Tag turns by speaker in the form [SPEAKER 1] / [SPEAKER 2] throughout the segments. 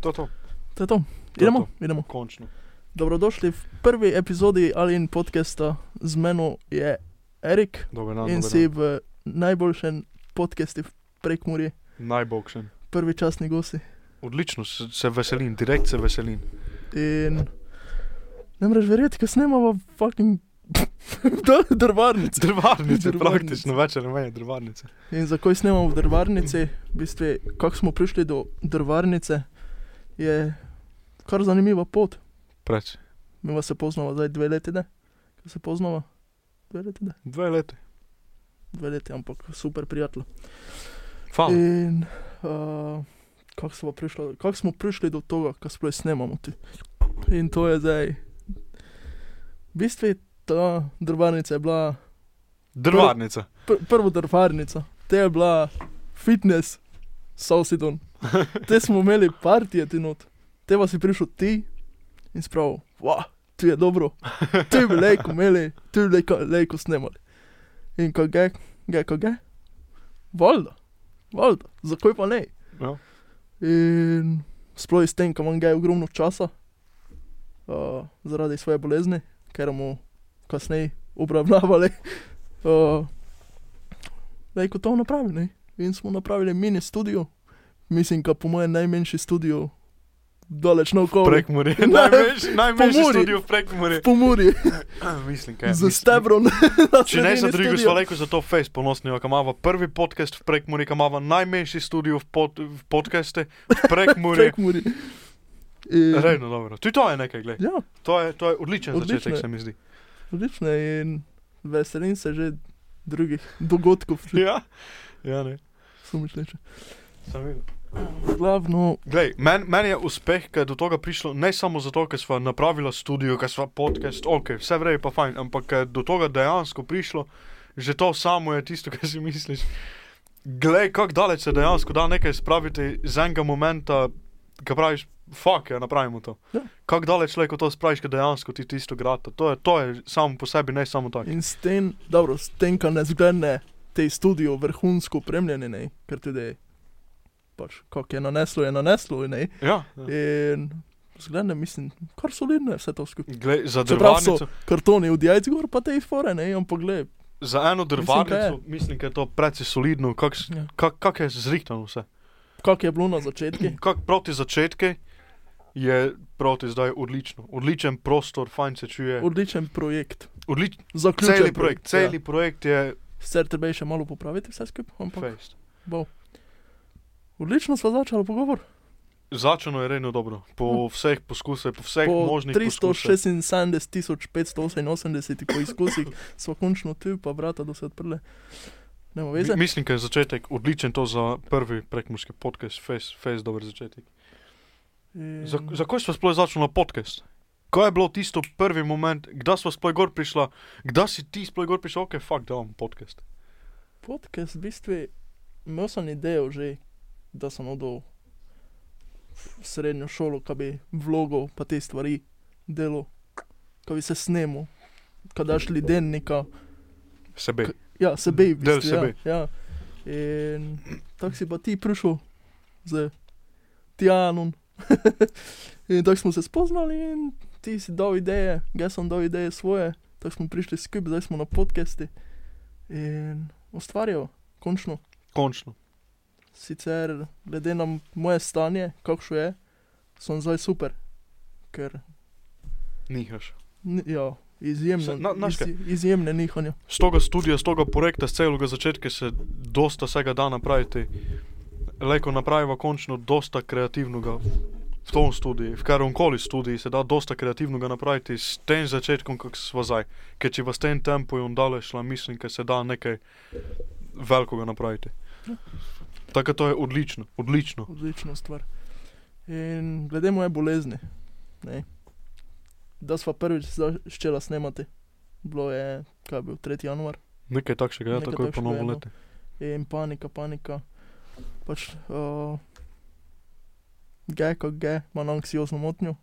[SPEAKER 1] To, to,
[SPEAKER 2] To je to.
[SPEAKER 1] To je
[SPEAKER 2] Idemo,
[SPEAKER 1] to.
[SPEAKER 2] idemo.
[SPEAKER 1] končno.
[SPEAKER 2] Dobrodošli v prvi epizodi ali in podcasta z menoj je Erik
[SPEAKER 1] Dober dan,
[SPEAKER 2] in
[SPEAKER 1] dober
[SPEAKER 2] si
[SPEAKER 1] dan.
[SPEAKER 2] v najboljšem podcastu v Prekmurju,
[SPEAKER 1] Najboljšen.
[SPEAKER 2] prvi časni gosti.
[SPEAKER 1] Odlično, se, se veselim, direkt se veselim.
[SPEAKER 2] In ne moreš verjeti, kaj snemamo fucking da- drvarnice.
[SPEAKER 1] Drvarnice,
[SPEAKER 2] Drvarnice.
[SPEAKER 1] praktično večer meni drvarnice.
[SPEAKER 2] In zakaj snemamo v drvarnici, v bistvu, kako smo prišli do drvarnice, je kar zanimiva pot.
[SPEAKER 1] Preč.
[SPEAKER 2] Mi pa se poznamo zdaj dve leti, ne? Kaj se poznamo? Dve leti, ne?
[SPEAKER 1] Dve leti.
[SPEAKER 2] Dve leti, ampak super prijatelj.
[SPEAKER 1] Fala.
[SPEAKER 2] In uh, kako smo, prišlo- kako smo prišli do tega, kar sploh snemamo. Ti. In to je zdaj. V bistvu ta drvarnica je bila
[SPEAKER 1] Drvarnica.
[SPEAKER 2] pr prva drvarnica, te je bila fitness, Sausidon. Te smo imeli partije ti not, te pa si prišel ti in spravil, wow, tu je dobro, tu bi lejko imeli, tu bi lejko, lejko snemali. In ko ga, ga, ko ga, valjda, valjda, zakaj pa ne?
[SPEAKER 1] Ja.
[SPEAKER 2] In sploh s tem, ko imam ga ogromno časa, uh, zaradi svoje bolezni, ker mu kasneje obravnavali. Uh, da je kot to napravili. In smo napravili mini studio, mislim, ka po mojem najmanjši studio, daleč naokoli.
[SPEAKER 1] Prek morja.
[SPEAKER 2] Ne,
[SPEAKER 1] Najmanjši, najmanjši
[SPEAKER 2] Pomurje.
[SPEAKER 1] studio v prek morja.
[SPEAKER 2] V Pomurju,
[SPEAKER 1] Mislim, kaj. Ja,
[SPEAKER 2] z
[SPEAKER 1] mislim.
[SPEAKER 2] stebrom.
[SPEAKER 1] Če ne za drugo, smo rekel, zato fejs ponosni, ko imamo prvi podcast v Prekmurju, ko imamo najmanjši studio v, pod, v podcaste v Prekmurju.
[SPEAKER 2] Prekmurje. In,
[SPEAKER 1] Rejno dobro. Tudi to je nekaj, gled.
[SPEAKER 2] ja,
[SPEAKER 1] To je, to je odličen
[SPEAKER 2] Odlično
[SPEAKER 1] začetek,
[SPEAKER 2] je.
[SPEAKER 1] se mi zdi.
[SPEAKER 2] odlično je in veselim se že drugih dogodkov,
[SPEAKER 1] Ja, ja ne.
[SPEAKER 2] sumišlječe.
[SPEAKER 1] Sem videl.
[SPEAKER 2] Glavno,
[SPEAKER 1] Glej, men, meni je uspeh, ker je do tega prišlo ne samo zato, ker smo napravili studio, ker smo podcast, ok, vse vrej pa fajn, ampak ker je do tega dejansko prišlo, že to samo je tisto, kar si misliš. Glej, kako daleč se dejansko da nekaj spraviti iz enega momenta, ki praviš, fuck, ja, napravimo to.
[SPEAKER 2] Ja.
[SPEAKER 1] Kako daleč lahko to spraviš, ker dejansko ti tisto grata. To je, to je samo po sebi, ne samo tako.
[SPEAKER 2] In s tem, dobro, s tem, kar ne zgrne te studio vrhunsko opremljene, ne, ker tudi, pač, kako je naneslo, je naneslo, ne.
[SPEAKER 1] Ja, ja.
[SPEAKER 2] In zgrne, mislim, kar solidno je vse to skupaj.
[SPEAKER 1] Glej, za
[SPEAKER 2] Čeprav so
[SPEAKER 1] drvarnico.
[SPEAKER 2] kartoni od jajc gor, pa te fore, ne, ampak gled,
[SPEAKER 1] Za eno
[SPEAKER 2] kaj je.
[SPEAKER 1] drvarnico mislim, da je to precej solidno, kako
[SPEAKER 2] Ja.
[SPEAKER 1] kak, kak je zrihtano vse.
[SPEAKER 2] kako je bilo na začetku.
[SPEAKER 1] Kak proti začetke je proti zdaj odlično. Odličen prostor, fajn se čuje.
[SPEAKER 2] Odličen projekt.
[SPEAKER 1] Odlič,
[SPEAKER 2] Zaključen
[SPEAKER 1] celi projekt, celi ja. projekt je
[SPEAKER 2] Ja. Sicer treba je še malo popraviti vse skupaj, ampak
[SPEAKER 1] fejst.
[SPEAKER 2] bo. Odlično smo začeli pogovor.
[SPEAKER 1] Začeno je redno dobro, po vseh poskusih, po vseh No. po
[SPEAKER 2] Po
[SPEAKER 1] možnih poskusih.
[SPEAKER 2] 376.588 poizkusih smo končno tu, pa vrata do se odprle. Ne bo veze.
[SPEAKER 1] Mi- Mislim, da je začetek odličen to za prvi prekmorski podcast, fejst, fejst dober začetek.
[SPEAKER 2] In-
[SPEAKER 1] Za- Zakaj smo sploh začeli na podcast? Kaj je bilo tisto prvi moment, kdaj smo sploh gor prišla, kdaj si ti sploh gor prišla, ok, fuck, da imam podcast.
[SPEAKER 2] Podcast v bistvu imel sem idejo že, da sem odol v srednjo šolo, kaj bi vlogo, pa te stvari delo, kaj bi se snemo, kaj daš ljudem neka,
[SPEAKER 1] Sebe.
[SPEAKER 2] K- ja, sebe, v
[SPEAKER 1] Del
[SPEAKER 2] bistvu,
[SPEAKER 1] sebe.
[SPEAKER 2] Ja, ja. In tako si pa ti prišel z Tijanom. in tako smo se spoznali in ti si dal ideje, jaz sem dal ideje svoje, tako smo prišli skupaj, zdaj smo na podcesti in ustvarjal, končno.
[SPEAKER 1] Končno.
[SPEAKER 2] Sicer, glede na moje stanje, kakšno je, sem zdaj super, ker
[SPEAKER 1] Nihaš.
[SPEAKER 2] ni- ja, izjemno,
[SPEAKER 1] Se- na- znaš kaj?
[SPEAKER 2] izj, izjemne nihanje.
[SPEAKER 1] Z tega studia, z tega projekta, z celega začetka se dosta vsega da napraviti. Leko napraviva končno dosta kreativnega v tom studiu, v kateremkoli studiu se da dosta kreativnega napraviti s tem začetkom, kak smo zdaj. Ker če v tem tempu in dale šla, mislim, da se da nekaj velikega napraviti. Tako da to je odlično, odlično.
[SPEAKER 2] Odlična stvar. In glede moje bolezni, ne, da sva prvič začela snemati, bilo je, kaj je bil 3. januar.
[SPEAKER 1] Nekaj takšnega, ja,
[SPEAKER 2] Nekaj
[SPEAKER 1] tako je
[SPEAKER 2] takšnega,
[SPEAKER 1] ponovno
[SPEAKER 2] ja.
[SPEAKER 1] leti.
[SPEAKER 2] in panika, panika. Pač, uh, ge, kot ge, imam anksiozno motnjo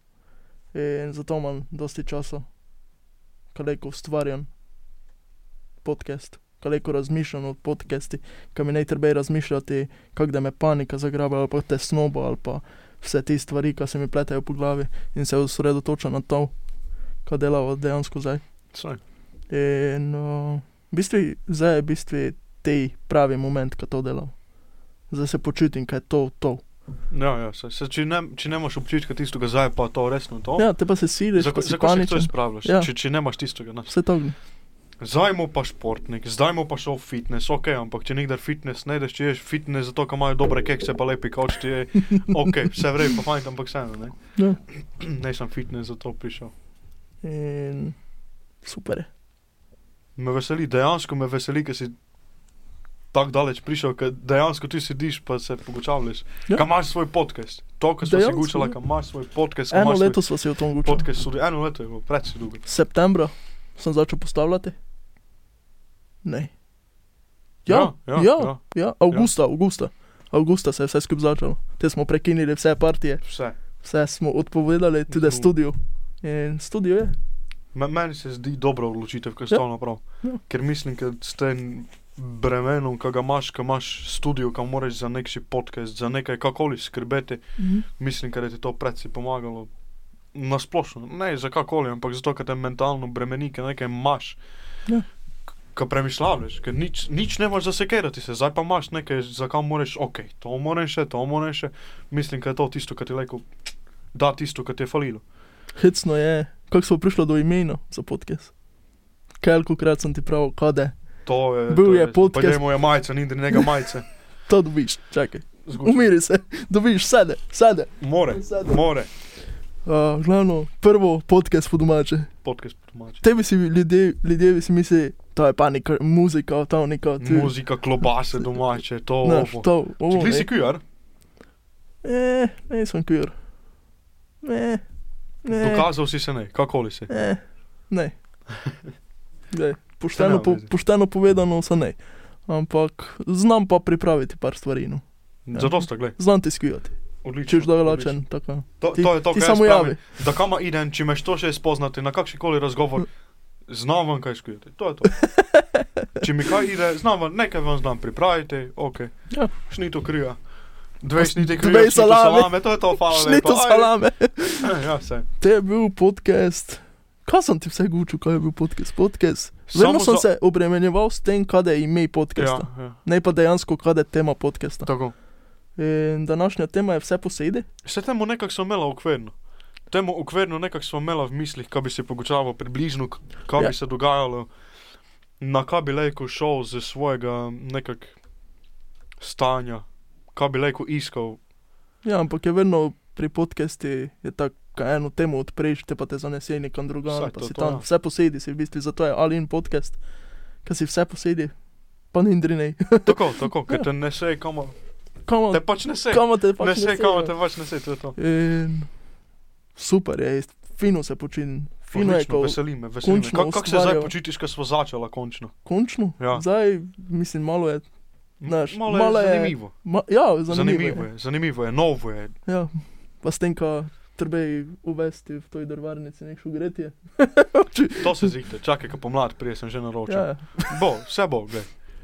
[SPEAKER 2] in zato imam dosti časa, kaleko ustvarjam podcast, kaleko razmišljam o podcasti, kaj mi ne treba razmišljati, kako da me panika zagrabi ali pa tesnoba ali pa vse te stvari, ki se mi pletajo po glavi in se osredotoča na to, kar delava dejansko zdaj.
[SPEAKER 1] Saj.
[SPEAKER 2] In uh, v bistvu, zdaj je v bistvu te pravi moment, ko to delam. Zdaj se počutim, kaj je to, to.
[SPEAKER 1] Ja, ja, saj, saj, če, ne, če nemaš občutka tistega, zdaj pa to resno to.
[SPEAKER 2] Ja, te pa se siliš,
[SPEAKER 1] Zakaj
[SPEAKER 2] pa si
[SPEAKER 1] za se to
[SPEAKER 2] paničen.
[SPEAKER 1] izpravljaš?
[SPEAKER 2] Ja.
[SPEAKER 1] Ja. Če, če nemaš tistega, ne.
[SPEAKER 2] Vse to gre.
[SPEAKER 1] Zajmo pa športnik, zdajmo pa šel fitness, ok, ampak če nikdar fitness ne ideš, če ješ fitness zato, ker imajo dobre kekse, pa lepi kavč, ti je ok, vse vrej, pa fajn, ampak vseeno ne.
[SPEAKER 2] Ja.
[SPEAKER 1] Ne sem fitness zato prišel.
[SPEAKER 2] In super je.
[SPEAKER 1] Me veseli, dejansko me veseli, ker si tako daleč prišel, ker dejansko ti sediš pa se pogočavljaš.
[SPEAKER 2] Ja.
[SPEAKER 1] Ja. Kam imaš svoj podcast? To, kar smo si
[SPEAKER 2] Dejansko,
[SPEAKER 1] gučala,
[SPEAKER 2] ja.
[SPEAKER 1] kam imaš svoj podcast, kam
[SPEAKER 2] Eno
[SPEAKER 1] imaš svoj
[SPEAKER 2] leto smo si v tom govorili.
[SPEAKER 1] podcast, tudi eno leto je bilo, predvsej dolgo.
[SPEAKER 2] Septembra sem začel postavljati. Ne. Ja, ja, ja, ja, ja avgusta, ja. avgusta. Avgusta se je vse skupaj začelo. Te smo prekinili vse partije,
[SPEAKER 1] vse.
[SPEAKER 2] vse smo odpovedali, tudi
[SPEAKER 1] Mhm.
[SPEAKER 2] studio. In studio je.
[SPEAKER 1] Me- Meni se zdi dobra odločitev, ker
[SPEAKER 2] Ja.
[SPEAKER 1] ste to napravili.
[SPEAKER 2] Ja.
[SPEAKER 1] Ker mislim, da s tem bremenom, ki ga imaš, ki imaš studio, ki moraš za nek si podcast, za nekaj kakoli skrbeti,
[SPEAKER 2] Mhm.
[SPEAKER 1] mislim, da ti to predsi pomagalo. Na splošno, ne za kakoli, ampak zato, ker te mentalno bremeni, ker nekaj imaš.
[SPEAKER 2] Ja.
[SPEAKER 1] Ko premišljaš, ker nič, nič ne moreš zasekirati se, zdaj pa imaš nekaj, za kar moraš, ok, to moraš še, to moraš še. Mislim, da je to tisto, kar ti leko da, tisto, kar ti je falilo.
[SPEAKER 2] Hecno je, kako smo prišli do imena za podcast. Kelko krat sem ti pravil, kade,
[SPEAKER 1] To je,
[SPEAKER 2] Bil
[SPEAKER 1] to
[SPEAKER 2] je podcast-
[SPEAKER 1] Pojdemo je majica, ni da njega majice.
[SPEAKER 2] to dobiš, čakaj.
[SPEAKER 1] Zgučen.
[SPEAKER 2] Umiri se, dobiš, sede, sede.
[SPEAKER 1] More,
[SPEAKER 2] Sede.
[SPEAKER 1] more,
[SPEAKER 2] Uh, glavno, prvo podcast po domače.
[SPEAKER 1] podcast po domače.
[SPEAKER 2] Tebi si ljudje, ljudje bi si mislili, to je pa neka muzika, to je neka ti-
[SPEAKER 1] Muzika, klobase domače, to
[SPEAKER 2] Znaš,
[SPEAKER 1] ovo.
[SPEAKER 2] to, ovo.
[SPEAKER 1] Ti
[SPEAKER 2] ne.
[SPEAKER 1] si QR,
[SPEAKER 2] Eh, nisem kjer. Ne, ne.
[SPEAKER 1] dokazal si se ne, kakoli si.
[SPEAKER 2] Ne, Eh, ne. Glej,
[SPEAKER 1] To
[SPEAKER 2] pošteno,
[SPEAKER 1] ne
[SPEAKER 2] po,
[SPEAKER 1] veze.
[SPEAKER 2] pošteno povedano, so ne. Ampak znam pa pripraviti par stvari. No. Ja.
[SPEAKER 1] Zato sta, gled,
[SPEAKER 2] Znam ti skijati.
[SPEAKER 1] odlično.
[SPEAKER 2] Če že
[SPEAKER 1] odlično.
[SPEAKER 2] določen, tako.
[SPEAKER 1] To,
[SPEAKER 2] Ti-
[SPEAKER 1] to je to,
[SPEAKER 2] ti
[SPEAKER 1] kar
[SPEAKER 2] samo
[SPEAKER 1] samo
[SPEAKER 2] javi.
[SPEAKER 1] javi. Da kama idem, če meš to še spoznati, na kakšen koli razgovor, znam vam kaj skujati. To je to. Če mi kaj ide, znam vam, nekaj vam znam pripraviti, ok.
[SPEAKER 2] Ja.
[SPEAKER 1] Šnito krija. Dve šnite krija,
[SPEAKER 2] dve
[SPEAKER 1] šnito
[SPEAKER 2] salame.
[SPEAKER 1] salame, to je to, hvala lepa.
[SPEAKER 2] Šnito
[SPEAKER 1] Aj,
[SPEAKER 2] salame.
[SPEAKER 1] Ja, sej.
[SPEAKER 2] To je bil podcast. Kaj sem ti vse gučil, kaj je bil podcast? Podcast. Vedno sem se obremenjeval s tem, kaj je ime
[SPEAKER 1] Ja,
[SPEAKER 2] podcasta.
[SPEAKER 1] ja,
[SPEAKER 2] Ne pa dejansko, kaj je tema podcasta.
[SPEAKER 1] tako.
[SPEAKER 2] In današnja tema je vse posede.
[SPEAKER 1] Se temu nekako smo imela okvirno. Temu okvirno nekako smo imela v mislih, kaj bi se pogočalo približno, k- kaj
[SPEAKER 2] Ja.
[SPEAKER 1] bi se dogajalo, na kaj bi lejko šel ze svojega nekak stanja, kaj bi lejko iskal.
[SPEAKER 2] Ja, ampak je vedno pri podcesti je tako, kaj eno temo odpreš, te pa te zanese nekam drugam,
[SPEAKER 1] Saj
[SPEAKER 2] pa
[SPEAKER 1] to,
[SPEAKER 2] si
[SPEAKER 1] to,
[SPEAKER 2] tam,
[SPEAKER 1] ja.
[SPEAKER 2] vse posedi si v bistvu, zato je ali in podcast, ker si vse posedi, pa ni indrinej.
[SPEAKER 1] Tako, tako, ker te ne se, kamo,
[SPEAKER 2] Kamo,
[SPEAKER 1] te pač ne se.
[SPEAKER 2] kamo te pa
[SPEAKER 1] Ne se, kamo
[SPEAKER 2] ja.
[SPEAKER 1] te pač ne se, to je to.
[SPEAKER 2] In super je, jaz fino se počinim, fino je,
[SPEAKER 1] Odlično,
[SPEAKER 2] ko
[SPEAKER 1] veseli me, veseli me.
[SPEAKER 2] končno
[SPEAKER 1] Kako kak se zdaj
[SPEAKER 2] ustvarjava.
[SPEAKER 1] počutiš, ko smo začela končno?
[SPEAKER 2] končno,
[SPEAKER 1] Ja.
[SPEAKER 2] zdaj mislim malo je,
[SPEAKER 1] M-
[SPEAKER 2] Znaš,
[SPEAKER 1] malo,
[SPEAKER 2] malo je
[SPEAKER 1] je zanimivo.
[SPEAKER 2] ma, ja, zanimivo,
[SPEAKER 1] Zanimivo je, zanimivo je, novo je.
[SPEAKER 2] Ja, pa s tem, ko treba uvesti v toj drvarnici nekšo gretje.
[SPEAKER 1] To se zihte, čakaj, ko pomlad prije sem že naročil.
[SPEAKER 2] Ja,
[SPEAKER 1] Bo, vse bo, gledaj.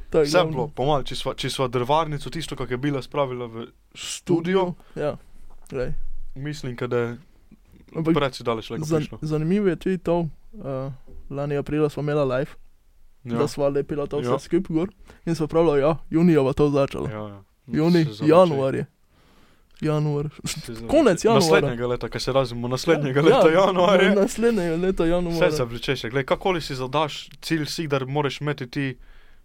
[SPEAKER 2] to je
[SPEAKER 1] Vse
[SPEAKER 2] glavno.
[SPEAKER 1] bilo, pomal, če sva, če sva drvarnico, tisto, kar je bila spravila v studio,
[SPEAKER 2] Ja, glej.
[SPEAKER 1] mislim, ka da je
[SPEAKER 2] Ampak
[SPEAKER 1] predsi daleč lepo
[SPEAKER 2] Zan,
[SPEAKER 1] prišlo.
[SPEAKER 2] zanimivo je tudi to, uh, lani aprila smo imeli live, ja.
[SPEAKER 1] Ja,
[SPEAKER 2] da smo lepili to vse ja.
[SPEAKER 1] Ja.
[SPEAKER 2] skupaj gor in smo pravili, ja, junija bo to začelo. Ja.
[SPEAKER 1] ja, ja.
[SPEAKER 2] Juni,
[SPEAKER 1] Se zavračaj,
[SPEAKER 2] januar je. Januar.
[SPEAKER 1] se zavračaj.
[SPEAKER 2] konec januarja.
[SPEAKER 1] Naslednjaga leta, kaj se razimo, naslednjega ja, leta januarja.
[SPEAKER 2] Na, naslednjega leta
[SPEAKER 1] Vse
[SPEAKER 2] januarja.
[SPEAKER 1] zavlečeš, gledaj, kakoli si zadaš, cilj si, da moraš imeti ti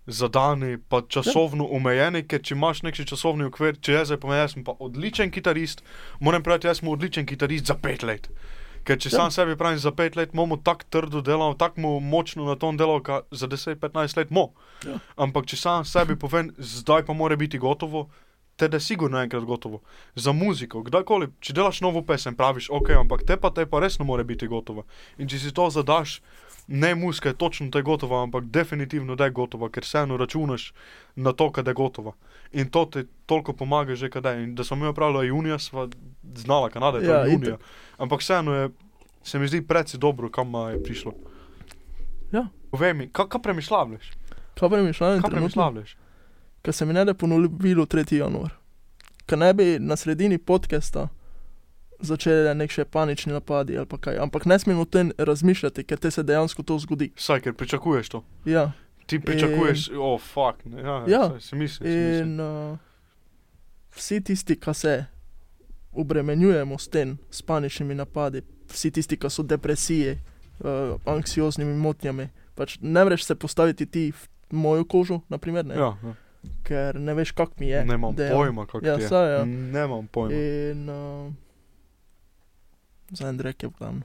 [SPEAKER 1] zadani, pa časovno ja. omejeni, ker če imaš neki časovni okvir, če jaz zdaj povem, jaz sem pa odličen kitarist, moram praviti, jaz sem odličen kitarist za pet let. Ker če
[SPEAKER 2] Ja.
[SPEAKER 1] ja. sam sebi pravim, za pet let bomo tako trdo delali, tako mu močno na tom delali, ka za 10-15 let mo.
[SPEAKER 2] Ja.
[SPEAKER 1] Ja. Ampak če sam sebi povem, zdaj pa mora biti gotovo, te da je sigurno enkrat gotovo. Za muziko, kdajkoli, če delaš novo pesem, praviš, ok, ampak te pa te pa res ne more biti gotovo. In če si to zadaš, ne muska je točno te gotova, ampak definitivno da je gotova, ker vseeno računaš na to, kada je gotova. In to ti toliko pomaga že kadaj. In da smo mi opravili junija, sva znala, Kanada je
[SPEAKER 2] Ja,
[SPEAKER 1] ja, junija.
[SPEAKER 2] itak.
[SPEAKER 1] Ampak vseeno je, se mi zdi predsi dobro, kam a, je prišlo.
[SPEAKER 2] Ja.
[SPEAKER 1] Povej mi, kaj ka premišljavljaš?
[SPEAKER 2] Kaj pa mi šlo na
[SPEAKER 1] Kaj
[SPEAKER 2] trenutno?
[SPEAKER 1] premišljavljaš?
[SPEAKER 2] Ker se mi ne da ponovilo 3. januar. Ker ne bi na sredini podcasta začele nek še panični napadi ali pa kaj. Ampak ne smemo o tem razmišljati, ker te se dejansko to zgodi.
[SPEAKER 1] Vsaj, ker pričakuješ to.
[SPEAKER 2] Ja.
[SPEAKER 1] Ti pričakuješ, o, oh, fuck. ne, Ja,
[SPEAKER 2] E, Ja.
[SPEAKER 1] saj, si mislim. si mislim.
[SPEAKER 2] In uh, vsi tisti, ki se obremenjujemo s tem, s paničnimi napadi, vsi tisti, ki so depresije, uh, anksioznimi motnjami, pač ne moreš se postaviti ti v mojo kožo, naprimer, ne, ja.
[SPEAKER 1] Ja, ja.
[SPEAKER 2] ker ne veš, kak mi je.
[SPEAKER 1] Ne imam
[SPEAKER 2] dejansko.
[SPEAKER 1] pojma, kako
[SPEAKER 2] Ja,
[SPEAKER 1] ti je.
[SPEAKER 2] saj, ja.
[SPEAKER 1] Ne imam pojma.
[SPEAKER 2] In uh, za en reke, glavno.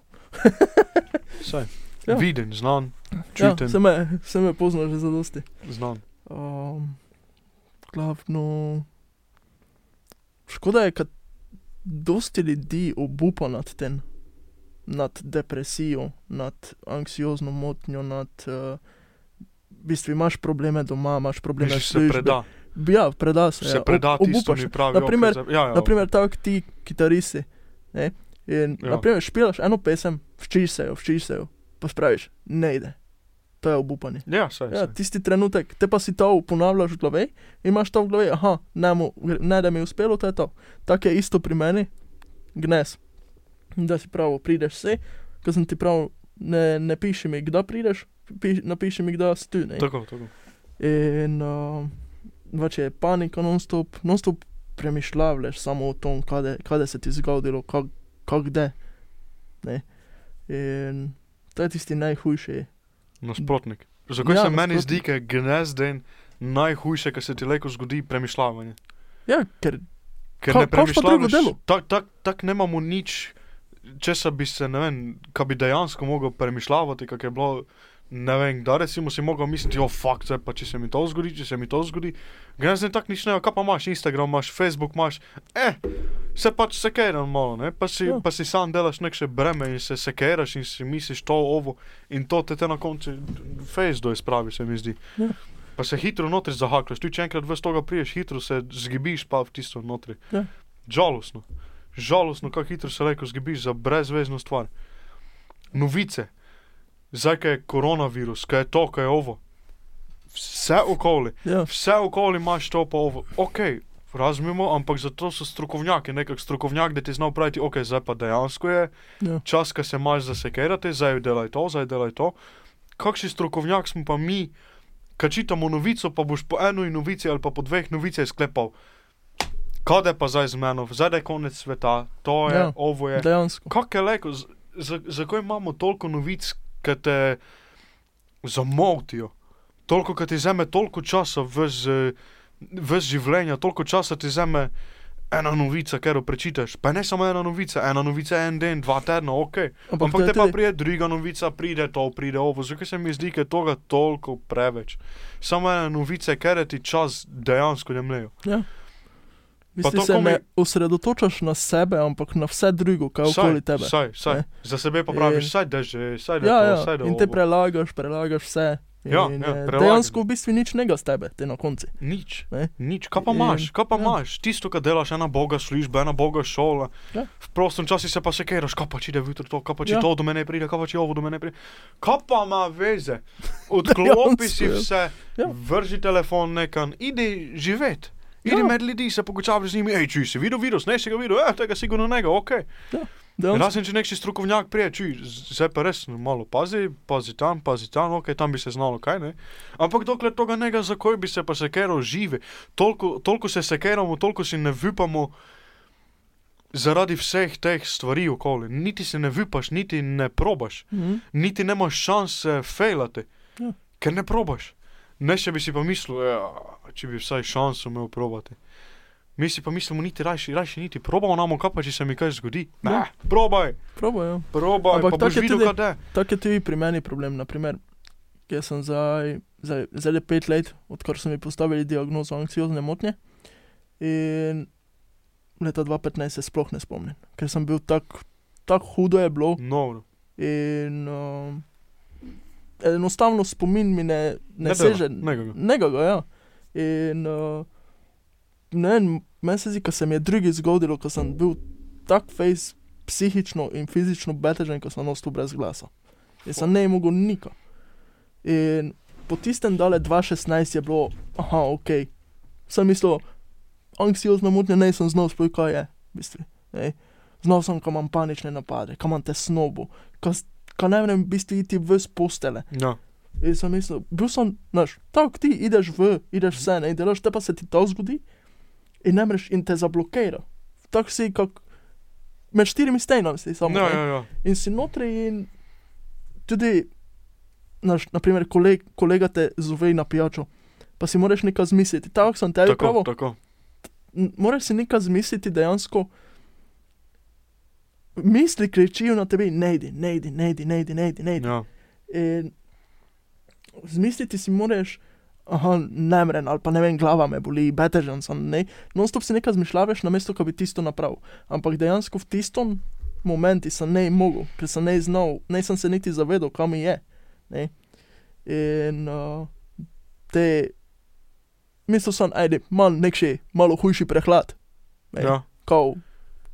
[SPEAKER 1] Saj.
[SPEAKER 2] Ja.
[SPEAKER 1] Viden, znan,
[SPEAKER 2] Ja,
[SPEAKER 1] čuten,
[SPEAKER 2] se, me, se me pozna že za dosti.
[SPEAKER 1] znan.
[SPEAKER 2] Um, glavno, škoda je, kad dosti ljudi obupa nad tem, nad depresijo, nad anksiozno motnjo, nad. Uh, v bistvu imaš probleme doma, imaš probleme
[SPEAKER 1] Že
[SPEAKER 2] s
[SPEAKER 1] se
[SPEAKER 2] službe.
[SPEAKER 1] preda,
[SPEAKER 2] Ja, preda se.
[SPEAKER 1] se
[SPEAKER 2] ja.
[SPEAKER 1] preda
[SPEAKER 2] Ob-
[SPEAKER 1] tisto,
[SPEAKER 2] obupaš
[SPEAKER 1] mi pravi. okej,
[SPEAKER 2] Naprimer-
[SPEAKER 1] zdaj- ja, ja,
[SPEAKER 2] Naprimer, tako ti kitarisi. Ne? In,
[SPEAKER 1] Ja.
[SPEAKER 2] ja. naprimer, špilaš eno pesem, včiš se jo, včiš se jo, pa spraviš, ne ide. To je obupanje.
[SPEAKER 1] Ja, saj,
[SPEAKER 2] Ja,
[SPEAKER 1] saj.
[SPEAKER 2] tisti trenutek, te pa si to ponavljaš v glavi, imaš to v glavi, aha, ne, mu, ne da mi je uspelo, to je to. Tako je isto pri meni, gnes. Da si prav, prideš se, ko sem ti prav, ne, ne piši mi, kdaj prideš, piš, napiši mi, kdaj si tu. ne.
[SPEAKER 1] Tako, tako.
[SPEAKER 2] In uh, več je panika, non-stop, non-stop premišljavaš samo o tom, kaj kaj se ti zgodilo, kako kak kde. Ne? In to je tisti najhujši.
[SPEAKER 1] Nasprotnik. Zakaj ja,
[SPEAKER 2] Ja,
[SPEAKER 1] se meni
[SPEAKER 2] nasprotnik.
[SPEAKER 1] zdi, da je gnezden najhujše, kar se ti lahko zgodi, premišljavanje?
[SPEAKER 2] Ja, ker
[SPEAKER 1] Ker
[SPEAKER 2] Ka-
[SPEAKER 1] ne
[SPEAKER 2] kaj boš pa drugo
[SPEAKER 1] premišljavaš,
[SPEAKER 2] delal?
[SPEAKER 1] tako tak, tak ne imamo nič, česa bi se, ne vem, kaj bi dejansko mogel premišljavati, kak je bilo, ne vem, da recimo si mogel misliti, o fakt, zdaj pa če se mi to zgodi, če se mi to zgodi. Gnezdne tak nič ne, kaj pa imaš, Instagram imaš, Facebook imaš, eh, se pač sekeraš malo, ne, pa si,
[SPEAKER 2] Ja.
[SPEAKER 1] pa si sam delaš nekše breme in se sekeraš in si misliš to, ovo in to te, te na koncu face do izpravi, se mi zdi.
[SPEAKER 2] Ja.
[SPEAKER 1] Pa se hitro notri zahaklaš, ti če enkrat veš toga priješ, hitro se zgibiš pa v tisto notri.
[SPEAKER 2] Ja.
[SPEAKER 1] Žalostno. Žalostno, kako hitro se reko zgibiš za brezvezno stvar. Novice, zdaj kaj je koronavirus, kaj je to, kaj je ovo. Vse okoli,
[SPEAKER 2] ja,
[SPEAKER 1] vse okoli imaš to pa ovo. Ok, razumemo, ampak zato so strokovnjaki, nekak strokovnjak, da ti zna praviti, ok, zdaj pa dejansko je
[SPEAKER 2] ja.
[SPEAKER 1] čas, ki se imaš za sekirati, zdaj delaj to, zdaj delaj to. Kakšni strokovnjak smo pa mi, ki čitamo novico, pa boš po eni novici ali pa po dveh novicah sklepal. Kade pa zdaj z mano, zdaj je konec sveta, to je, ja,
[SPEAKER 2] Ja,
[SPEAKER 1] ovo je.
[SPEAKER 2] dejansko.
[SPEAKER 1] Kako je leko, z- za- zakaj imamo toliko novic, ki te zamotijo, toliko, ki ti zame toliko časa, vse življenja, toliko časa ti zame ena novica, ker jo prečitaš. Pa ne samo ena novica, ena novica je en dan, dva tedna, ok.
[SPEAKER 2] Ampak, to
[SPEAKER 1] Ampak
[SPEAKER 2] je
[SPEAKER 1] te pa
[SPEAKER 2] tudi-
[SPEAKER 1] prije druga novica, pride to, pride ovo. Zakaj se mi zdi, da je tega toliko preveč? Samo ena novica, ker ti čas dejansko jemljejo.
[SPEAKER 2] V
[SPEAKER 1] pa
[SPEAKER 2] bistvu
[SPEAKER 1] to
[SPEAKER 2] Ja. se
[SPEAKER 1] komaj-
[SPEAKER 2] ne osredotočaš na sebe, ampak na vse drugo, kar je
[SPEAKER 1] Saj,
[SPEAKER 2] okoli tebe.
[SPEAKER 1] Saj, saj.
[SPEAKER 2] Ne?
[SPEAKER 1] Za sebe pa
[SPEAKER 2] In-
[SPEAKER 1] praviš, saj da že, saj da to,
[SPEAKER 2] ja,
[SPEAKER 1] saj da
[SPEAKER 2] ja. In te
[SPEAKER 1] ovo."
[SPEAKER 2] prelagaš, prelagaš vse. In,
[SPEAKER 1] Ja, ja,
[SPEAKER 2] eh,
[SPEAKER 1] prelagam.
[SPEAKER 2] dejansko v bistvu nič nega z tebe, te na konci.
[SPEAKER 1] Nič.
[SPEAKER 2] Ne?
[SPEAKER 1] Nič. Kaj pa
[SPEAKER 2] In-
[SPEAKER 1] imaš, kaj pa
[SPEAKER 2] ja.
[SPEAKER 1] imaš? Tisto, kar delaš, ena boga služba, ena boga šola.
[SPEAKER 2] Ja.
[SPEAKER 1] V prostem času se pa sekeraš, kaj pa če ide v jutro to, kaj pa če
[SPEAKER 2] Ja.
[SPEAKER 1] to do mene pride, kaj pa če ovo do mene pride. Kaj pa ima veze? Odklopi si
[SPEAKER 2] Dejansko, ja.
[SPEAKER 1] vse,
[SPEAKER 2] Ja.
[SPEAKER 1] vrži telefon nekam, idi živet. Idi
[SPEAKER 2] Ja.
[SPEAKER 1] med ljudi, se pogovarjaj z njimi, hej, čuj si videl virus, ne si ga videl, eh, tega sigurno ne, ok.
[SPEAKER 2] Dejansko.
[SPEAKER 1] Razen če neki strokovnjak prije, čuj, z- zdaj pa res malo pazi, pazi tam, pazi tam, ok, tam bi se znalo kaj, ne. Ampak dokler tega nega, zakaj bi se pa sekero žive, toliko, toliko se sekeramo, toliko si ne vipamo zaradi vseh teh stvari okoli. Niti se ne vipaš, niti ne probaš,
[SPEAKER 2] Mhm.
[SPEAKER 1] niti nemaš šanse fejlati,
[SPEAKER 2] Ja.
[SPEAKER 1] ker ne probaš. Ne, še bi si pa mislil, ja, če bi vsaj šanso imel probati. Mi si pa mislimo, niti rajši, rajši niti probamo, namo kaj pa, če se mi kaj zgodi. Ne,
[SPEAKER 2] Ja.
[SPEAKER 1] probaj.
[SPEAKER 2] Probaj, ja.
[SPEAKER 1] Probaj,
[SPEAKER 2] Ampak
[SPEAKER 1] pa
[SPEAKER 2] tako
[SPEAKER 1] boš
[SPEAKER 2] je
[SPEAKER 1] videl,
[SPEAKER 2] tudi-
[SPEAKER 1] kaj je.
[SPEAKER 2] Tako je tudi pri meni problem. Naprimer, jaz sem zdaj, zdaj, zdaj je pet let, odkar so mi postavili diagnozo anksiozne motnje. In leta 2015 se sploh ne spomnim, ker sem bil tako, tako hudo je bilo.
[SPEAKER 1] No, no.
[SPEAKER 2] In um, enostavno spomin mi ne, ne,
[SPEAKER 1] Ne dela,
[SPEAKER 2] ne seže.
[SPEAKER 1] ne ga ga.
[SPEAKER 2] Ne ga, ga, ja. In uh, ne vem, meni se zdi, ko se mi je drugi zgodilo, ko sem bil tak face psihično in fizično betežen, ko sem ostal brez glasa. Jaz sem ne mogel nika. In po tistem dale 2016 je bilo, aha, ok. Sem mislil, anksiozno motnje, ne sem znal sploh kaj je. v Bistvu, ne. Znal sem, ko imam panične napade, ko imam tesnobo, ko, s- ko ne vem, v bistvu iti v postele.
[SPEAKER 1] Ja,
[SPEAKER 2] In E, sem mislil, bil sem, znaš, tako ti ideš v, ideš vse, ne, in delaš, te pa se ti to zgodi in ne moreš in te zablokira. Tako si, kot med štirimi stenami si samo.
[SPEAKER 1] ja,
[SPEAKER 2] ne.
[SPEAKER 1] ja, ja.
[SPEAKER 2] In si notri in tudi, naš, naprimer, koleg, kolega te zove na pijačo, pa si moraš nekaj zmisliti. Tako sem tebi
[SPEAKER 1] tako,
[SPEAKER 2] pravil,
[SPEAKER 1] tako.
[SPEAKER 2] n- moraš si nekaj zmisliti dejansko. Misli kričijo na tebi, ne idi, ne idi, ne idi, ne idi, ne idi. ne idi."
[SPEAKER 1] Ja.
[SPEAKER 2] In Zmisliti si moraš, aha, ne mren ali pa ne vem, glava me boli, betežen sem, ne. Non-stop si nekaj zmišljavaš, namesto da bi tisto napravil. Ampak dejansko v tistem momentu sem ne mogel, ker sem ne znal, ne sem se niti zavedal, kam je. Ne. In uh, te, mislil sem, ajde, mal nek še, malo hujši prehlad. Ne.
[SPEAKER 1] Ja.
[SPEAKER 2] Kao,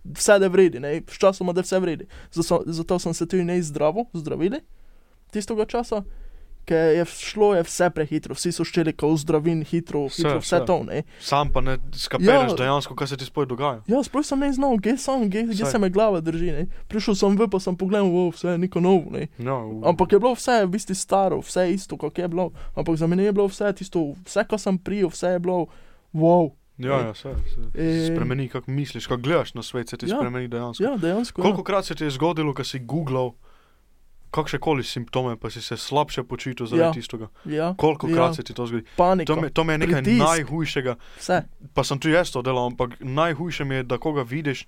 [SPEAKER 2] vse da vredi, ne, sčasoma da vse vredi. Zato, zato sem se tudi ne zdravil, zdravili tistega časa, ker je šlo je vse prehitro, vsi so šteli kao zdravin, hitro,
[SPEAKER 1] Vse,
[SPEAKER 2] hitro, vse,
[SPEAKER 1] vse.
[SPEAKER 2] vse to, ne.
[SPEAKER 1] Sam pa ne skapiraš
[SPEAKER 2] Ja.
[SPEAKER 1] ja. dejansko, kaj se ti spoj dogaja.
[SPEAKER 2] Ja, sploh sem ne znal, kje sem, kje, kje
[SPEAKER 1] Saj.
[SPEAKER 2] se me glava drži. Ne. Prišel sem v, pa sem pogledal, wow, vse je neko novo. Ne.
[SPEAKER 1] Ja, v-
[SPEAKER 2] Ampak je bilo vse v bistvu staro, vse isto, kot je bilo. Ampak za mene je bilo vse tisto, vse, kar sem prijel, vse je bilo wow.
[SPEAKER 1] ja, ja se, se
[SPEAKER 2] Em.
[SPEAKER 1] spremeni, kako misliš, kako gledaš na svet, se ti
[SPEAKER 2] E. Ja.
[SPEAKER 1] ja. spremeni dejansko.
[SPEAKER 2] Ja, dejansko.
[SPEAKER 1] Koliko krat se ti je zgodilo, ko si googlal kakšne koli simptome, pa si se slabše počutil zaradi
[SPEAKER 2] Ja.
[SPEAKER 1] ja. tistega?
[SPEAKER 2] Ja,
[SPEAKER 1] Koliko krat ja.
[SPEAKER 2] Ja.
[SPEAKER 1] se ti to zgodi?
[SPEAKER 2] panika.
[SPEAKER 1] To, me, to mi je nekaj
[SPEAKER 2] Pritisk.
[SPEAKER 1] Pritisk. najhujšega,
[SPEAKER 2] Vse.
[SPEAKER 1] pa sem tu jaz to delal, ampak najhujše mi je, da koga vidiš.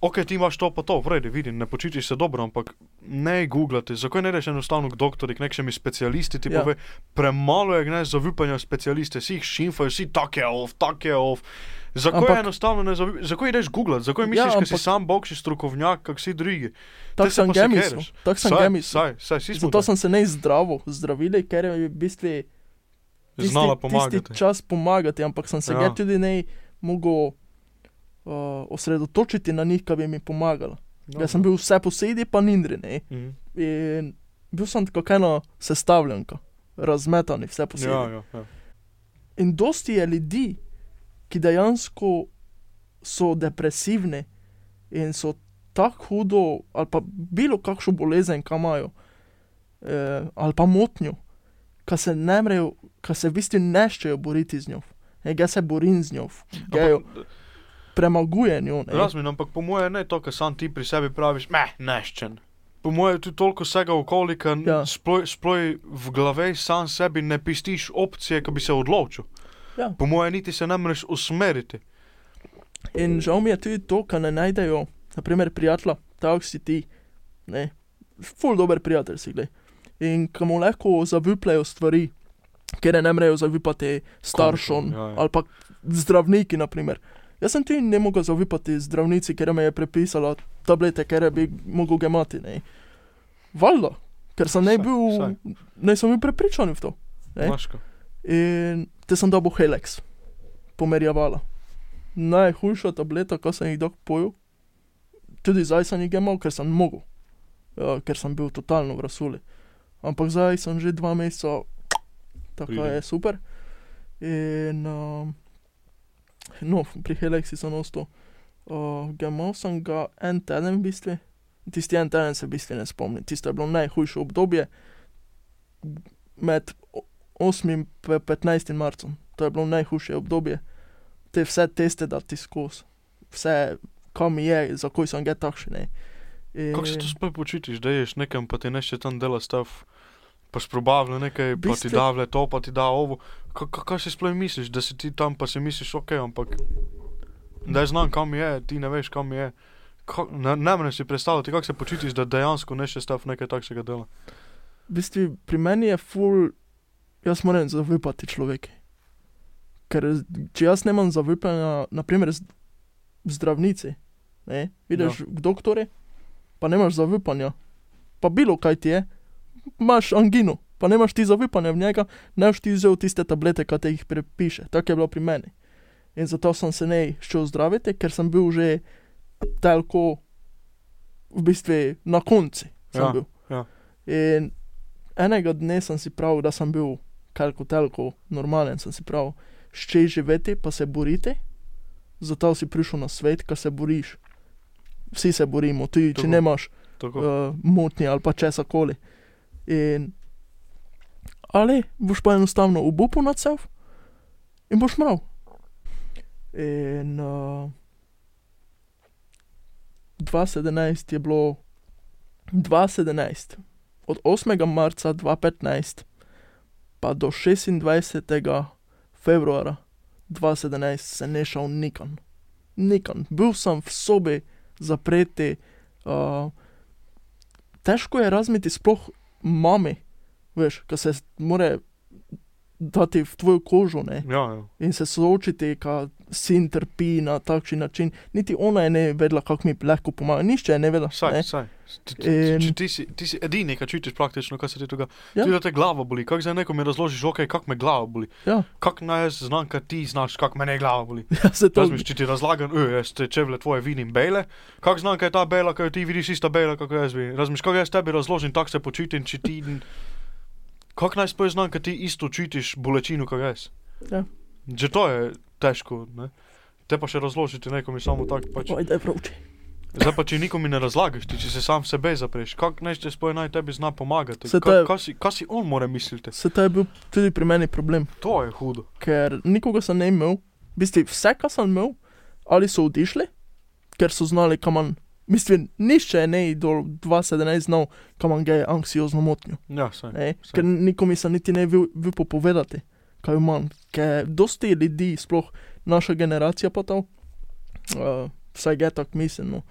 [SPEAKER 1] Ok, ti imaš to pa to, v redu, vidim, ne počutiš se dobro, ampak ne googlati. Zakaj ne rečeš enostavno k doktorju, k nekšnemu specialisti ti
[SPEAKER 2] Ja.
[SPEAKER 1] ja. pove, premalo je gnez zaupanja v specialiste, vsi jih šimfajo, vsi tak je off, tak je off. Zakaj
[SPEAKER 2] Ampak-
[SPEAKER 1] ampak, enostavno ne zaupaš, zakaj ideš googlati, zakaj
[SPEAKER 2] Ja,
[SPEAKER 1] misliš, ja, ampak, da si
[SPEAKER 2] ampak-
[SPEAKER 1] sam bogši strokovnjak, kak si drugi.
[SPEAKER 2] Tako
[SPEAKER 1] se
[SPEAKER 2] sem
[SPEAKER 1] pa
[SPEAKER 2] gemisel.
[SPEAKER 1] sekeraš.
[SPEAKER 2] Tako sem
[SPEAKER 1] Saj,
[SPEAKER 2] gemisel.
[SPEAKER 1] Saj, saj, saj,
[SPEAKER 2] Zato sem se ne zdravil, zdravili, ker je v bistvu tisti,
[SPEAKER 1] znala
[SPEAKER 2] tisti
[SPEAKER 1] pomagati.
[SPEAKER 2] čas pomagati, ampak sem se ja.
[SPEAKER 1] Ja.
[SPEAKER 2] tudi ne mogel uh, osredotočiti na njih, kaj bi mi pomagalo. No, Jaz sem bil vse posedi, pa nindri. Ne.
[SPEAKER 1] Mhm.
[SPEAKER 2] In bil sem kot ena sestavljanka, razmetani vse posedi.
[SPEAKER 1] Ja, ja, ja.
[SPEAKER 2] In dosti je ljudi, ki dejansko so depresivni in so tako hudo, ali pa bilo kakšno bolezen, ki imajo, eh, ali pa motnjo, ki se ne mrejo, ki se v bistvu neščejo boriti z njo. E, Jaz se borim z njo, jaz jo
[SPEAKER 1] Ampak,
[SPEAKER 2] premagujem. Jo, ne.
[SPEAKER 1] Razumem, no, ampak po mojem ne to, kar sam ti pri sebi praviš, meh, neščen. Po mojem je tu toliko vsega okolika,
[SPEAKER 2] Ja.
[SPEAKER 1] ja. sploh v glavi sam sebi ne pistiš opcije, ki bi se odločil.
[SPEAKER 2] Ja.
[SPEAKER 1] Po mojem niti se ne moreš usmeriti.
[SPEAKER 2] In žal mi je tudi to, kar ne najdejo, naprimer, prijatelja, tako si ti, ne, ful dober prijatelj si gled. In ki mu lahko zavipljajo stvari, ker je ne mrejo zavipati staršem
[SPEAKER 1] ja, ja.
[SPEAKER 2] ali pa zdravniki, naprimer. Jaz sem tudi ne mogel zavipati zdravnici, ker me je prepisala tablete, ker bi mogel gemati, ne. Valjda, ker sem ne
[SPEAKER 1] Saj,
[SPEAKER 2] bil, ne sem bil prepričan v to. Ne.
[SPEAKER 1] Maško.
[SPEAKER 2] In te sem dobil Helix, pomerjavala. Najhujša tableta, ko sem jih dok pojil, tudi zdaj sem jih imel, ker sem mogel, ja, ker sem bil totalno v rasuli. Ampak zdaj sem že dva meseca, tako
[SPEAKER 1] Pride.
[SPEAKER 2] je super. In um, no, pri Helixi sem ostal. Uh, Gemal sem ga en teden, v bistvu. Tisti en teden se v bistvu ne spomnim, tisto je bilo najhujše obdobje med o- 8 in pe- 15 marcem. To je bilo najhujše obdobje. Te vse teste dati skozi, vse, kam je, zakaj sem ga takšen. ne. In-
[SPEAKER 1] Kako se to sploh počutiš, da ješ nekam, pa ti nešče tam dela stav, pa sprobavlja nekaj, pa
[SPEAKER 2] Bistvo-
[SPEAKER 1] ti da vle to, pa ti da ovo. Ka- ka- Kaj si sploh misliš, da si ti tam, pa si misliš, ok, ampak da je znam, kam je, ti ne veš, kam je. Ka- Ne, ne moreš si predstavljati, kako se počutiš, da dejansko nešče stav nekaj takšnega dela.
[SPEAKER 2] V bistvu pri meni je ful, jaz moram zavipati človek. Ker z- če jaz nemam zavipanja, naprimer z- zdravnici, ne, vidiš ja. k doktorju, pa nimaš zavipanja, pa bilo kaj ti je, imaš angino, pa nimaš ti zavipanja v njega, ne boš ti vzel tiste tablete, ki te jih prepiše. Tako je bilo pri meni. In zato sem se ne šel zdraviti, ker sem bil že tako v bistvu na konci.
[SPEAKER 1] Ja.
[SPEAKER 2] Ja. Bil. In enega dne sem si pravil, da sem bil kalko telko, normalen sem si pravil, šče živeti, pa se boriti. Zato si prišel na svet, ker se boriš. vsi se borimo, tudi če
[SPEAKER 1] Tako.
[SPEAKER 2] nemaš
[SPEAKER 1] Tako.
[SPEAKER 2] uh, motnje ali pa česa koli. In, ali boš pa enostavno obupal nad seboj in boš mrav. In uh, 2017 je bilo 2017, od 8. marca 2015 pa do 26. februara 2017 se ne šel nikam. Nikam. Bil sem v sobi zapreti, uh, težko je razmeti sploh mami, veš, ki se more dati v tvojo kožo ne?
[SPEAKER 1] Ja, ja.
[SPEAKER 2] in se soočiti, ka sin trpi na takšen način. Niti ona je ne vedela, kako mi lahko pomaga, nišče je ne vedela.
[SPEAKER 1] Saj,
[SPEAKER 2] ne.
[SPEAKER 1] saj. Ti, ti, ti,
[SPEAKER 2] In-
[SPEAKER 1] ti, si, ti si edini, ki čutiš praktično, kaj se ti dogaja. Ja.
[SPEAKER 2] Ja.
[SPEAKER 1] Ti da te glava boli, kako zdaj nekomu razložiš, ok, kako me glava boli.
[SPEAKER 2] Ja.
[SPEAKER 1] Kako naj jaz znam, kaj ti znaš, kako me ne glava boli.
[SPEAKER 2] Ja, se to
[SPEAKER 1] Razmiš, če ti razlagam, "Ej, jaz te čevlje tvoje vidim bele, kako znam, kaj je ta bela, kaj jo ti vidiš ista bela, kako jaz vidim. Razmiš, kako jaz tebi razložim, tako se počutim, če ti... Kako naj sploh znam, kaj ti isto čutiš bolečino, kot jaz.
[SPEAKER 2] Ja.
[SPEAKER 1] Že to je težko, ne? Te pa še razložiti nekomu samo tako pač.
[SPEAKER 2] Oj, daj pravči.
[SPEAKER 1] Zdaj pa če nikomu ne razlagaš, ti, če se sam sebe zapreš, kako naj te sploh naj tebi zna pomagati?
[SPEAKER 2] Se to
[SPEAKER 1] Kaj,
[SPEAKER 2] je-
[SPEAKER 1] kaj, si, kaj si on mora misliti?
[SPEAKER 2] Se to je bil tudi pri meni problem.
[SPEAKER 1] To je hudo.
[SPEAKER 2] ker nikogar sem ne imel, v bistvu vse, kar sem imel, ali so odšli, ker so znali, kam imam. Mislim, nišče je ne do 2017 znal, kam imam gej anksiozno motnjo.
[SPEAKER 1] Ja, saj.
[SPEAKER 2] Ne?
[SPEAKER 1] Saj.
[SPEAKER 2] Ker nikomu nisem niti ne bil, bil popovedati, kaj imam. Ker dosti ljudi, sploh naša generacija pa to, uh, vsaj je tako miselno,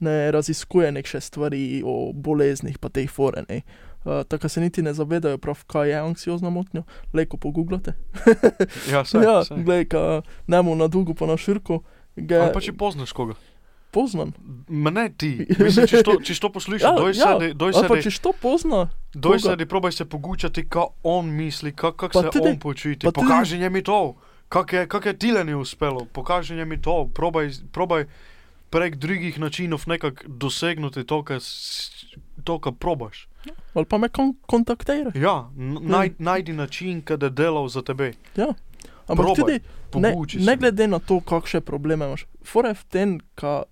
[SPEAKER 2] ne raziskuje nek še stvari o boleznih, pa teh forenih. Uh, tako da se niti ne zavedajo, prav, kaj je anksiozna motnja, le ko pogooglate.
[SPEAKER 1] Ja, saj,
[SPEAKER 2] ja,
[SPEAKER 1] saj.
[SPEAKER 2] glej, ka ne mu na dolgo pa na širko, ga
[SPEAKER 1] Ali pa če poznaš koga.
[SPEAKER 2] poznam.
[SPEAKER 1] Ma ne ti. Mislim, če to, če to poslušaš,
[SPEAKER 2] Ja,
[SPEAKER 1] doj
[SPEAKER 2] ja,
[SPEAKER 1] sedi, doj
[SPEAKER 2] Ali pa
[SPEAKER 1] sedi,
[SPEAKER 2] češ to pozna,
[SPEAKER 1] doj
[SPEAKER 2] koga?
[SPEAKER 1] sedi, probaj se pogučati, kaj on misli, kako kak
[SPEAKER 2] Pa
[SPEAKER 1] se
[SPEAKER 2] tudi-
[SPEAKER 1] on počuti.
[SPEAKER 2] pa tudi-
[SPEAKER 1] Pokaži njemu to, kako je, kak je tile ni uspelo, pokaži njemu to, probaj, probaj prek drugih načinov nekako dosegnuti to, kar s- to, kar probaš.
[SPEAKER 2] ali pa me kon kontaktira.
[SPEAKER 1] Ja, n- naj, najdi način, kaj je delal za tebe.
[SPEAKER 2] Ampak
[SPEAKER 1] Probaj,
[SPEAKER 2] tudi, ne,
[SPEAKER 1] Poguči se.
[SPEAKER 2] ne glede na to, kakšne probleme imaš, fore v tem, ka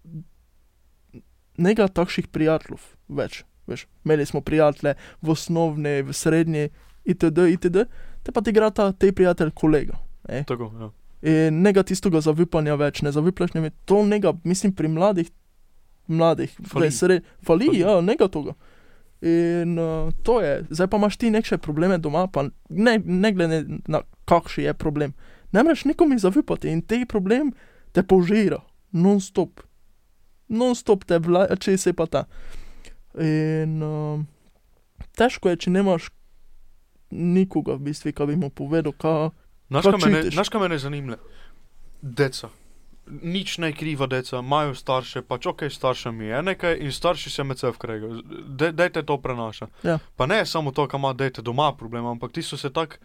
[SPEAKER 2] nega takšnih prijateljev več. Veš, imeli smo prijatelje v osnovni, v srednji, itd., itd., te pa ti grata te prijatelj kolega.
[SPEAKER 1] Tako, ja.
[SPEAKER 2] In nega E, tistega zavipanja več, ne zaviplaš ne, to nega, mislim, pri mladih, mladih,
[SPEAKER 1] Fali.
[SPEAKER 2] res re, fali,
[SPEAKER 1] Fali.
[SPEAKER 2] fali, ja, nega toga. In uh, to je, zdaj pa imaš ti neke probleme doma, pa ne, ne glede na kakšen je problem. Ne moreš nikomu zavipati in te problem te požira, non-stop. Non-stop te vlače se pa ta. In uh, težko je, če nimaš nikoga, v bistvu, ki bi mu povedal, kaj.
[SPEAKER 1] Znaš,
[SPEAKER 2] Kaj
[SPEAKER 1] kaj mene-
[SPEAKER 2] čutiš?
[SPEAKER 1] Znaš, kaj mene zanima? Deca. Nič ne kriva deca, imajo starše, pač ok, staršem je nekaj in starši se med seboj kregajo. De- Dete to prenaša.
[SPEAKER 2] Ja.
[SPEAKER 1] Pa ne samo to, kam ima dete doma problem, ampak ti so se tako,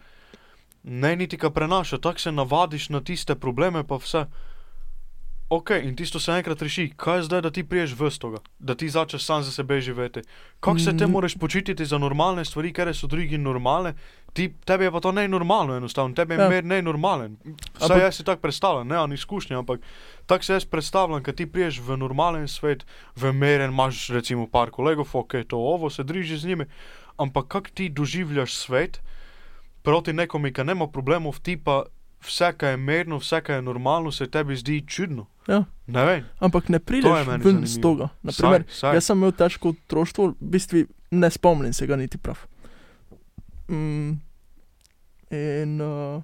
[SPEAKER 1] ne niti kaj prenaša, tako se navadiš na tiste probleme, pa vse. Ok, in tisto se enkrat reši, kaj je zdaj, da ti priješ v stoga, da ti začneš sam za sebe živeti. Kako se te
[SPEAKER 2] Mm.
[SPEAKER 1] moraš počititi za normalne stvari, ker so drugi normalne, ti, tebi je pa to nenormalno, enostavno, tebi je ja.
[SPEAKER 2] Ja.
[SPEAKER 1] mer nenormalen. Vsaj ampak,
[SPEAKER 2] Ampak-
[SPEAKER 1] jaz si tako predstavljam, ne on izkušnja, ampak tako se jaz predstavljam, kad ti priješ v normalen svet, v meren, imaš recimo par kolegov, ok, to ovo, se družiš z njimi, ampak kako ti doživljaš svet proti nekomu, ki nema problemov, ti pa vse, kar je merno, vse, kar je normalno, se tebi zdi čudno.
[SPEAKER 2] Ja.
[SPEAKER 1] Ne vem,
[SPEAKER 2] Ampak ne
[SPEAKER 1] To je
[SPEAKER 2] prideš
[SPEAKER 1] meni
[SPEAKER 2] ven iz
[SPEAKER 1] zanimivo.
[SPEAKER 2] toga. Naprimer,
[SPEAKER 1] saj, saj.
[SPEAKER 2] Jaz sem imel težko otroštvo, v bistvu ne spomnim se ga niti prav. Mm, in uh,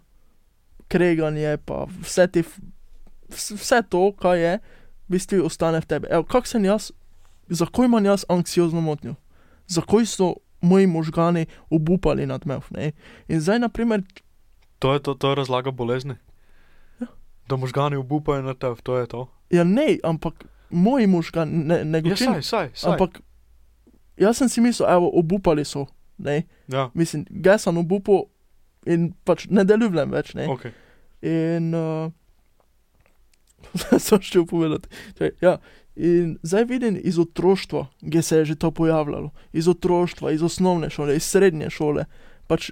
[SPEAKER 2] kreganje, pa vse, te, f- vs- vse to, kar je, v bistvu ostane v tebi. Evo, kak sem jaz, zakaj imam jaz anksiozno motnjo? Zakaj so moji možgani obupali nad mev? Ne? In zdaj, naprimer,
[SPEAKER 1] To je, to, to je razlaga bolezni. Da možgani obupajo na tev, to je to.
[SPEAKER 2] ja ne, ampak moji možgani ne, ne
[SPEAKER 1] Ja,
[SPEAKER 2] gočijo.
[SPEAKER 1] saj, saj, saj.
[SPEAKER 2] Ampak jaz sem si mislil, evo, obupali so. Ne?
[SPEAKER 1] ja,
[SPEAKER 2] mislim, jaz sem obupal in pač ne delujem več. Ne?
[SPEAKER 1] okay.
[SPEAKER 2] In uh, sem šel povedati. Čakaj, ja. In zdaj vidim iz otroštva, kje se je že to pojavljalo. Iz otroštva, iz osnovne šole, iz srednje šole. Pač,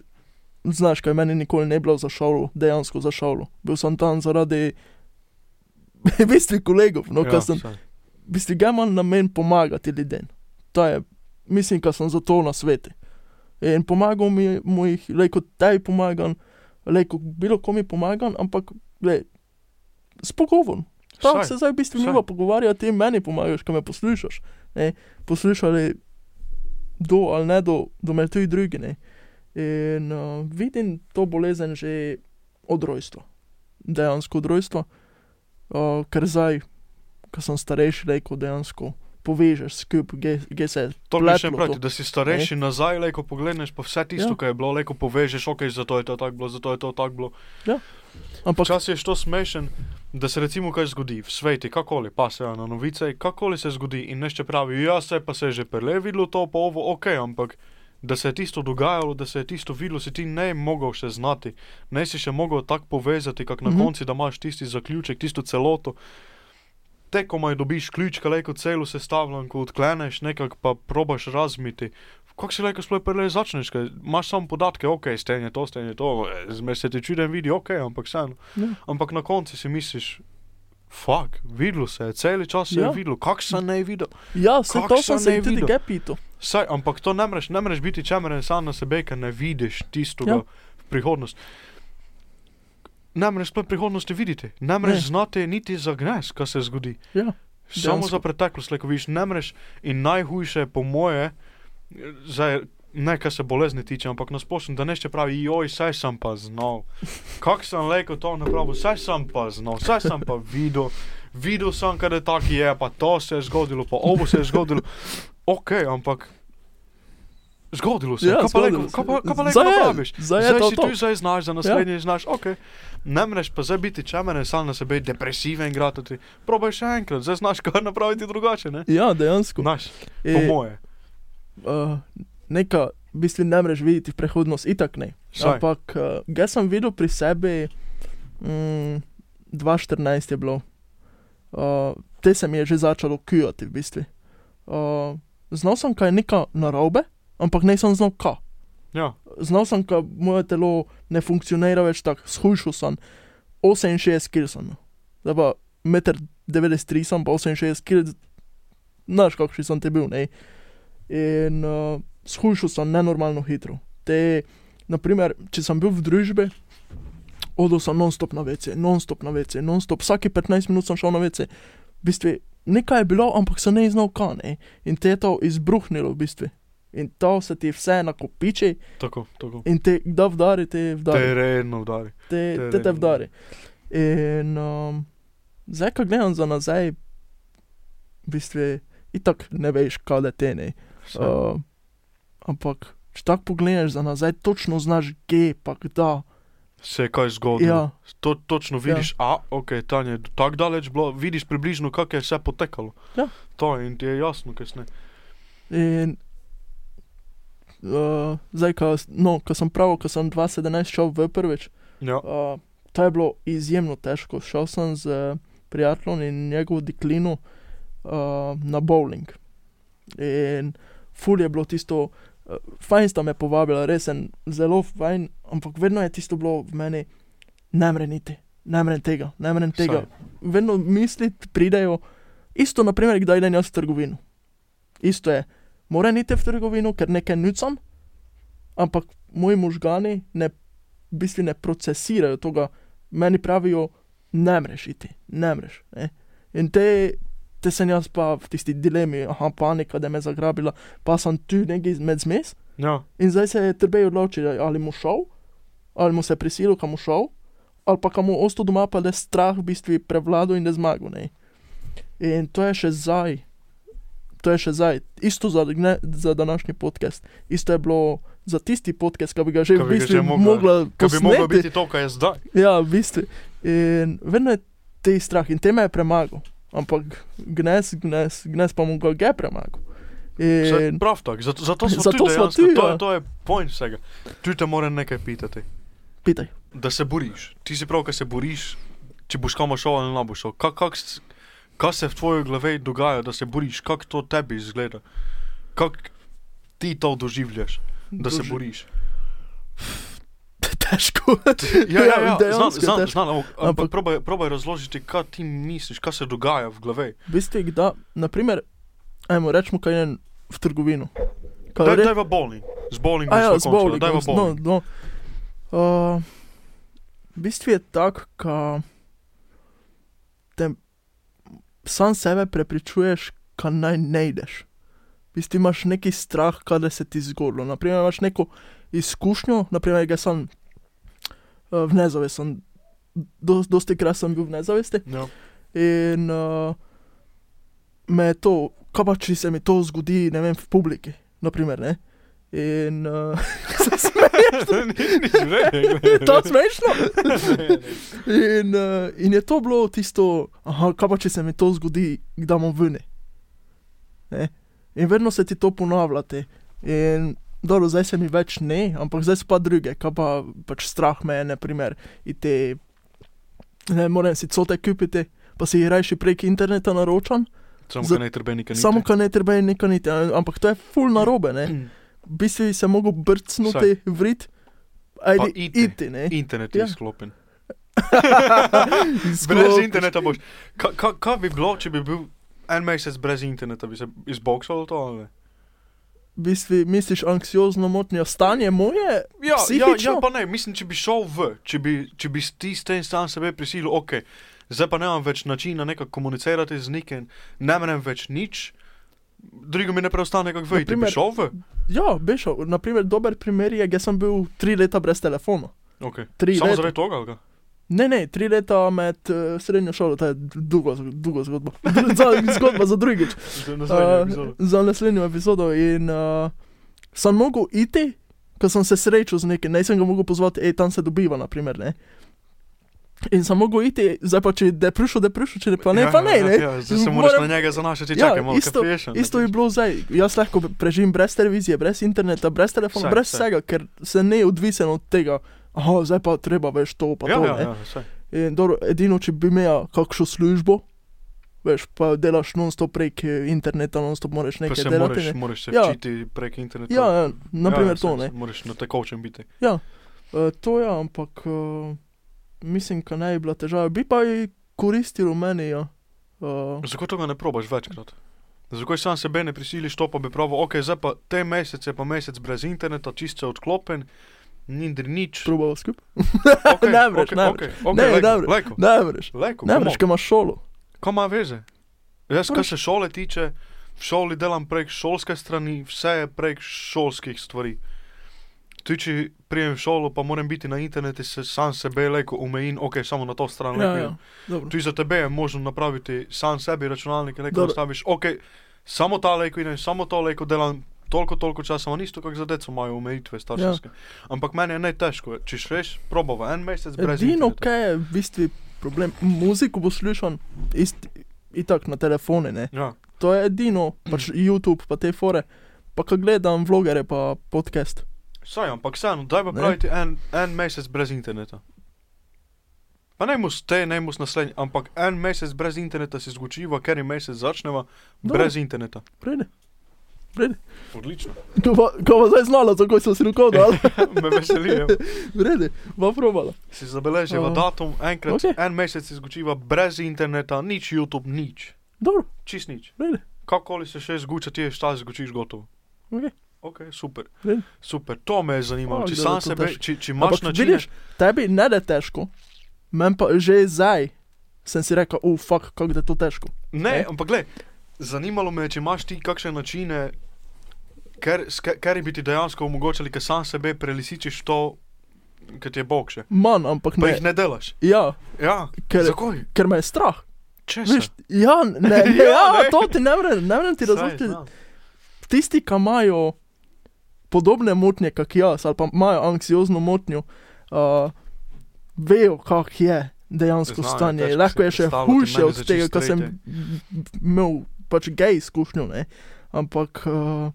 [SPEAKER 2] znaš, kaj meni nikoli ne bilo za šolo, dejansko za šolo. Bil sem tam zaradi. V bistvu kolegov, no, ja,
[SPEAKER 1] ja,
[SPEAKER 2] sem,
[SPEAKER 1] saj.
[SPEAKER 2] v bistvu ga imam namen pomagati ljudem. To je, mislim, da sem zato na svetu. In pomagal mi je mu jih, le kot tebi pomagam, le kot bilo komu pomagam, ampak le, s pogovorom. Tam se zdaj v bistvu
[SPEAKER 1] vsaj.
[SPEAKER 2] niva pogovarja, ti meni pomagaš, ko me poslušaš. Ne? Poslušali do ali ne do, do me tudi drugi. Ne? In uh, vidim to bolezen že od rojstva, dejansko od rojstva, uh, ker zdaj, ko sem starejši, rekel dejansko povežeš skupaj, gej se.
[SPEAKER 1] To mi še
[SPEAKER 2] pletlo
[SPEAKER 1] pravi,
[SPEAKER 2] to.
[SPEAKER 1] da si starejši nazaj, le ko pogledaš pa vse tisto,
[SPEAKER 2] Ja.
[SPEAKER 1] ja. kar je bilo, le ko povežeš, ok, zato je to tako bilo, zato je to tako bilo.
[SPEAKER 2] Ja. Ampak
[SPEAKER 1] Včasih je to smešen, da se recimo kaj zgodi v svetu, kakoli, pa se ja, na novice, kakoli se zgodi in nešče pravi, ja se pa se je že prele videlo to, pa ovo, ok, ampak da se je tisto dogajalo, da se je tisto videlo, si ti ne mogel še znati, ne si še mogel tako povezati, kak na mm
[SPEAKER 2] Mhm.
[SPEAKER 1] -hmm. konci, da imaš tisti zaključek, tisto celoto. Te komaj dobiš ključ, kaj kot celo sestavljen, ko odkleneš, nekako pa probaš razmiti. Kako si lahko sploh prele začneš, kaj imaš samo podatke, ok, stenje to, stenje to, eh, zmer se ti čudem vidi, ok, ampak vseeno.
[SPEAKER 2] Ja.
[SPEAKER 1] Ampak na koncu si misliš, fuk, videlo se je, cel čas se ja.
[SPEAKER 2] Ja.
[SPEAKER 1] je videlo, kak se ne je videl.
[SPEAKER 2] ja, se
[SPEAKER 1] Kako
[SPEAKER 2] to
[SPEAKER 1] sem
[SPEAKER 2] sem se
[SPEAKER 1] ne
[SPEAKER 2] jih tudi E
[SPEAKER 1] videl?
[SPEAKER 2] kaj pital.
[SPEAKER 1] Saj, ampak to ne moreš, ne moreš biti čemeren sam na sebe, ker ne vidiš tistega ja.
[SPEAKER 2] Ja.
[SPEAKER 1] v prihodnost. Ne moreš sploh prihodnosti videti, ne moreš
[SPEAKER 2] Ne.
[SPEAKER 1] znati niti za gnes, kaj se zgodi.
[SPEAKER 2] Ja.
[SPEAKER 1] Samo
[SPEAKER 2] Dejansko.
[SPEAKER 1] za preteklost, ko vidiš, ne moreš in najhujše, po moje, zdaj, ne kar se bolezni tiče, ampak nasplošno, da nešče pravi, joj, saj sem pa znal. Kak sem rekel to napravo, saj sem pa znal, saj sem pa videl, videl sem, kaj je tako je, pa to se je zgodilo, pa ovo se je zgodilo. Ok, ampak. Zgodilo se je,
[SPEAKER 2] Ja,
[SPEAKER 1] kaj pa
[SPEAKER 2] zgodilo
[SPEAKER 1] leko,
[SPEAKER 2] se
[SPEAKER 1] kaj
[SPEAKER 2] je.
[SPEAKER 1] pa, kaj pa
[SPEAKER 2] Zdaj
[SPEAKER 1] leko
[SPEAKER 2] je,
[SPEAKER 1] napraviš?
[SPEAKER 2] zdaj je to
[SPEAKER 1] si
[SPEAKER 2] to.
[SPEAKER 1] tu, zdaj znaš, za naslednji ja. znaš, ok. Ne moreš pa zdaj biti čemeren, sam na sebe depresiven, gratati. Probaj še enkrat, zdaj znaš, kaj napraviti drugače, ne?
[SPEAKER 2] Ja, dejansko.
[SPEAKER 1] Znaš, po
[SPEAKER 2] E,
[SPEAKER 1] moje.
[SPEAKER 2] uh, neka, v bistvu ne moreš videti v prihodnost, itak ne.
[SPEAKER 1] Saj.
[SPEAKER 2] Ampak uh, jaz sem videl pri sebi, mm, 2014 je bilo, uh, te se mi je že začelo kujati v bistvu. Uh, znal sem, kaj je neka narobe, ampak nisem znal, kaj.
[SPEAKER 1] Ja,
[SPEAKER 2] Znal sem, da moje telo ne funkcionira več tako, shujšal sem 68 kg, sem. no. zdaj pa 1,93 m, sem pa 68 kg, znaš kakšen sem te bil, ne. In uh, shujšal sem nenormalno hitro. Te, naprimer, če sem bil v družbi, odel sem non-stop na vece, non-stop na vece, non-stop, vsake 15 minut sem šel na vece. V bistvu, nekaj je bilo, ampak sem ne znal, kaj ne. In te je to izbruhnilo, v bistvu. In to se ti vse nakopiči,
[SPEAKER 1] tako, tako.
[SPEAKER 2] In te, da vdari, te vdari,
[SPEAKER 1] Te redno udari. te
[SPEAKER 2] te, te, te
[SPEAKER 1] redno.
[SPEAKER 2] vdari. In um, zdaj, ko gledam za nazaj, v bistvu itak ne veš, kaj da te ne.
[SPEAKER 1] Saj.
[SPEAKER 2] Uh, ampak, če tako pogledaš za nazaj, točno znaš, kje pa kdaj.
[SPEAKER 1] Se je kaj zgodilo.
[SPEAKER 2] Ja,
[SPEAKER 1] To točno vidiš, ja. a ok, tam je tako daleč bilo, vidiš približno, kako je vse potekalo.
[SPEAKER 2] Ja.
[SPEAKER 1] To je in ti je jasno, kasneje.
[SPEAKER 2] in uh, zdaj, ko, no, ko sem prav, ko sem 2017 šel v prvič,
[SPEAKER 1] Ja,
[SPEAKER 2] Uh, to je bilo izjemno težko. Šel sem z eh, prijateljem in njegovo deklino uh, na bowling. In ful je bilo tisto, uh, fajn sta me povabila, res en zelo fajn, ampak vedno je tisto bilo v meni, ne mre niti, ne mre tega, ne mre tega. Vedno misli pridejo, isto naprimer, kdaj idem jaz v trgovino. Isto je, mora niti v trgovino, ker nekaj nucam, ampak moji možgani ne, v bistvu ne procesirajo tega, meni pravijo, ne mreš iti, ne mreš. Ne? In te, te sem jaz pa v tisti dilemi, aha, panika, da me je zagrabila, pa sem tu nekaj med zmes
[SPEAKER 1] ja,
[SPEAKER 2] in zdaj se je treba odločiti, ali mu šel, ali mu se je prisilil, kam mu šel, ali pa kam mu ostal doma, pa da je strah v bistvu prevladal in da zmagal. Ne? In to je še zdaj. To je še zdaj, isto za, ne, za današnji podcast. Isto je bilo za tisti podcast, ki bi ga že
[SPEAKER 1] Ka
[SPEAKER 2] v
[SPEAKER 1] bi ga že
[SPEAKER 2] bistvu
[SPEAKER 1] mogla-
[SPEAKER 2] mogla
[SPEAKER 1] kaj bi moglo
[SPEAKER 2] posneti.
[SPEAKER 1] biti to, kar je zdaj.
[SPEAKER 2] Ja, v bistvu. In vedno je te strah in te me je premagal. Ampak gnes, gnes, gnes pa mu ga je premagal.
[SPEAKER 1] Saj,
[SPEAKER 2] In,
[SPEAKER 1] Prav tako, zato, zato smo
[SPEAKER 2] Zato
[SPEAKER 1] tu,
[SPEAKER 2] smo
[SPEAKER 1] dejansko,
[SPEAKER 2] tu,
[SPEAKER 1] to,
[SPEAKER 2] ja.
[SPEAKER 1] je- to je point vsega. Tu te mora nekaj pitati.
[SPEAKER 2] pitaj.
[SPEAKER 1] da se boriš. Ti si prav, da se boriš, če boš kam šel ali ne boš šel. Ka- kak s- Kaj se v tvoji glavi dogaja, da se boriš, kako to tebi izgleda, kako ti to doživljaš, da se
[SPEAKER 2] Druži-
[SPEAKER 1] boriš.
[SPEAKER 2] težko.
[SPEAKER 1] Ja, ja, ja, znam,
[SPEAKER 2] dejansko je
[SPEAKER 1] znam,
[SPEAKER 2] težko.
[SPEAKER 1] znam, ampak, ampak
[SPEAKER 2] Ampak-
[SPEAKER 1] probaj, probaj razložiti, kaj ti misliš, kaj se dogaja v glavi.
[SPEAKER 2] Veste, da, naprimer, ajmo rečemo, kaj je v trgovino.
[SPEAKER 1] Daj,
[SPEAKER 2] Kaj re-
[SPEAKER 1] daj v bowling, z bowlingom,
[SPEAKER 2] A ja,
[SPEAKER 1] sva
[SPEAKER 2] z
[SPEAKER 1] končala, daj
[SPEAKER 2] bowlingom.
[SPEAKER 1] v
[SPEAKER 2] No,
[SPEAKER 1] bowling.
[SPEAKER 2] no. Uh, v bistvu je tak, ka te sam sebe prepričuješ, ka naj ne ideš. V bistvu imaš neki strah, kada se ti zgodilo. Naprimer, imaš neko izkušnjo, naprimer, ga sem uh, v nezavesti. Dosti krat sem bil v nezavesti.
[SPEAKER 1] Ja.
[SPEAKER 2] In uh, me je to, kaj pa če se mi to zgodi, ne vem, v publiki, naprimer, ne. In uh, se smeješ,
[SPEAKER 1] Ni zmeraj.
[SPEAKER 2] da je to smešno. In, uh, in je to bilo tisto, aha, kaj pa če se mi to zgodi, da bom vne. Ne? In vedno se ti to ponavljate. In dobro, zdaj se mi več ne, ampak zdaj so pa druge, kaj pa pač strah me je, na primer, in te, ne morem si cote kupiti, pa si jih rajši prek interneta naročam.
[SPEAKER 1] Samo
[SPEAKER 2] Za-
[SPEAKER 1] kaj ne treba nikaj.
[SPEAKER 2] Samo, kar ne treba, je nekaj niti, a- ampak to je full narobe.
[SPEAKER 1] Mm.
[SPEAKER 2] Ne? V bistvu bi se mogel brcnuti, vrit, ajde,
[SPEAKER 1] iti.
[SPEAKER 2] iti, ne.
[SPEAKER 1] Internet je
[SPEAKER 2] Ja.
[SPEAKER 1] izklopljen. Brez
[SPEAKER 2] Zgolj-
[SPEAKER 1] interneta boš. Ka- ka- Kaj bi bilo, če bi bil en mesec brez interneta, bi se izboksal to ali ne?
[SPEAKER 2] V bistvu misliš anksiozno motnjo stanje moje?
[SPEAKER 1] Ja, ja, ja,
[SPEAKER 2] Psihično?
[SPEAKER 1] pa ne, mislim, če bi šel v, če bi, če bi ti s tem sam sebe prisilil, ok, zdaj pa nemam več načina nekako komunicirati z nikim, ne menem več nič, drugo mi ne preostane kako vej, ti bi
[SPEAKER 2] Naprimer-
[SPEAKER 1] šel v.
[SPEAKER 2] Ja, bešal. Naprimer, dober primer je, jaz sem bil tri leta brez telefona.
[SPEAKER 1] Okay.
[SPEAKER 2] Tri
[SPEAKER 1] Samo
[SPEAKER 2] leta.
[SPEAKER 1] zaradi tega, ali kaj?
[SPEAKER 2] Ne, ne, tri leta med uh, srednjo šolo, to je dolgo, dolgo zgodbo. za, zgodba za drugič.
[SPEAKER 1] Za naslednjo
[SPEAKER 2] Uh,
[SPEAKER 1] epizodo.
[SPEAKER 2] za naslednjo epizodo. In uh, sem mogel iti, ko sem se srečal z nekim, nisem ga mogel pozvati, hej, tam se dobiva, naprimer, ne. In sem mogel iti, zdaj pa če je prišel, da je prišel, če ne pa ne,
[SPEAKER 1] ja,
[SPEAKER 2] pa ne.
[SPEAKER 1] ja,
[SPEAKER 2] ne.
[SPEAKER 1] Ja, zdaj se moraš na njega zanašati,
[SPEAKER 2] Ja,
[SPEAKER 1] čakaj, malo
[SPEAKER 2] isto-
[SPEAKER 1] kapiješ.
[SPEAKER 2] Isto je bilo zdaj. Jaz lahko preživim brez televizije, brez interneta, brez telefona,
[SPEAKER 1] Saj,
[SPEAKER 2] vsaj, brez
[SPEAKER 1] saj.
[SPEAKER 2] vsaj. vsega, ker se ne odvisen od tega. Aha, zdaj pa treba veš to, pa
[SPEAKER 1] ja,
[SPEAKER 2] to.
[SPEAKER 1] ja,
[SPEAKER 2] ne."
[SPEAKER 1] ja, saj.
[SPEAKER 2] In dobro, edino, če bi imel kakšno službo, veš, pa delaš non-stop prek eh, interneta, non-stop moraš
[SPEAKER 1] Pa
[SPEAKER 2] nekaj
[SPEAKER 1] se
[SPEAKER 2] delati.
[SPEAKER 1] moraš,
[SPEAKER 2] Ne?
[SPEAKER 1] moraš se
[SPEAKER 2] Ja.
[SPEAKER 1] včiti prek interneta.
[SPEAKER 2] Ja, ja, naprimer
[SPEAKER 1] saj,
[SPEAKER 2] to ne.
[SPEAKER 1] saj, Moraš na tekočem biti.
[SPEAKER 2] Uh, to ja, ampak uh, mislim, da ne bi bila težava. Bi pa ji koristilo meni. Ja. Uh,
[SPEAKER 1] Zakaj tega ne probaš večkrat? Zakaj sam sebe ne prisiliš, to pa bi pravil, ok, zdaj pa te mesece, pa mesec brez interneta, čist se odklopen, ni dr- nič.
[SPEAKER 2] Probal skupaj.
[SPEAKER 1] Okay,
[SPEAKER 2] ne moreš, ne
[SPEAKER 1] okay, okay,
[SPEAKER 2] Ne,
[SPEAKER 1] lejko, Lejko,
[SPEAKER 2] ne moreš. Ne moreš,
[SPEAKER 1] lejko,
[SPEAKER 2] ne moreš,
[SPEAKER 1] come
[SPEAKER 2] ker imaš šolo.
[SPEAKER 1] on, kaj ima veze? Jaz, kar
[SPEAKER 2] Moraš-
[SPEAKER 1] se šole tiče, v šoli delam prek šolske strani, vse je prek šolskih stvari. Tudi če prijem v šolo, pa moram biti na internetu, se sam sebe lejko omejim, ok, samo na to stran lejko.
[SPEAKER 2] Ja,
[SPEAKER 1] idem.
[SPEAKER 2] ja, dobro.
[SPEAKER 1] Tudi za tebe je možno napraviti sam sebi računalnik, rekel,
[SPEAKER 2] Dobro.
[SPEAKER 1] nastaviš, ok, samo ta leko idem, samo to leko delam. Toliko, toliko časa, on isto, kako za deco imajo omejitve starševske. Ja. Ampak meni je najtežko, če šreš, probava en mesec brez
[SPEAKER 2] Edino,
[SPEAKER 1] interneta.
[SPEAKER 2] kaj je v bistvu problem, muziko bo slišan ist, itak na telefone, ne.
[SPEAKER 1] Ja.
[SPEAKER 2] To je edino, pač YouTube, pa te fore. Pa ko gledam vlogere, pa podcast.
[SPEAKER 1] Saj, ampak vseeno, daj pa
[SPEAKER 2] Ne.
[SPEAKER 1] praviti en, en mesec brez interneta. Pa ne mus te, ne mus naslednji, ampak en mesec brez interneta si zgučiva, ker je mesec začneva
[SPEAKER 2] Dobro.
[SPEAKER 1] brez interneta.
[SPEAKER 2] Prede.
[SPEAKER 1] Odlično.
[SPEAKER 2] Ko pa, ko pa zdaj znala, tako sem si roko dal.
[SPEAKER 1] Me veseli. ja. evo.
[SPEAKER 2] Vrede, pa probala.
[SPEAKER 1] Si zabeleživa
[SPEAKER 2] Ja.
[SPEAKER 1] datum, enkrat, okay.
[SPEAKER 2] Okej.
[SPEAKER 1] en mesec izgučiva brez interneta, nič YouTube, nič,
[SPEAKER 2] Dobro,
[SPEAKER 1] čist nič.
[SPEAKER 2] vrede.
[SPEAKER 1] Kakoli se še zguča, ti je šta zgučiš gotovo.
[SPEAKER 2] Okej.
[SPEAKER 1] Ok, super.
[SPEAKER 2] Red.
[SPEAKER 1] Super, to me je zanimalo.
[SPEAKER 2] Fak,
[SPEAKER 1] Če
[SPEAKER 2] da
[SPEAKER 1] sam
[SPEAKER 2] je to
[SPEAKER 1] sebe,
[SPEAKER 2] težko.
[SPEAKER 1] če, če imaš
[SPEAKER 2] Ampak
[SPEAKER 1] način,
[SPEAKER 2] vidiš, tebi ne da težko. Men pa že zdaj sem si rekel, uf, fuck, kako da je to težko.
[SPEAKER 1] ne,
[SPEAKER 2] ne.
[SPEAKER 1] ampak gled, zanimalo me je, če imaš ti kakšne načine, ker, s ke- ker bi ti dejansko omogočali, da sam sebe prelisičiš to, kar ti je Bog še.
[SPEAKER 2] Manj, ampak
[SPEAKER 1] Pa ne. jih
[SPEAKER 2] ne.
[SPEAKER 1] ne delaš.
[SPEAKER 2] Ja,
[SPEAKER 1] Ja,
[SPEAKER 2] ker,
[SPEAKER 1] zakaj?
[SPEAKER 2] ker me je strah.
[SPEAKER 1] Če
[SPEAKER 2] Veš, ja, ne, ne,
[SPEAKER 1] Ja,
[SPEAKER 2] ja, ja
[SPEAKER 1] ne.
[SPEAKER 2] to ti ne morem, ne morem ti razložiti. tisti, ki imajo podobne motnje kot jaz, ali pa imajo anksiozno motnjo, uh, vejo, kak je dejansko
[SPEAKER 1] Znajo, ja,
[SPEAKER 2] Znajo, stanje.
[SPEAKER 1] težko
[SPEAKER 2] Lahko
[SPEAKER 1] si
[SPEAKER 2] je še
[SPEAKER 1] predstavljati,
[SPEAKER 2] hujše
[SPEAKER 1] meni za
[SPEAKER 2] od tega,
[SPEAKER 1] čisto
[SPEAKER 2] kar sem
[SPEAKER 1] tretje.
[SPEAKER 2] imel pač gej izkušnjo, ne? ampak uh,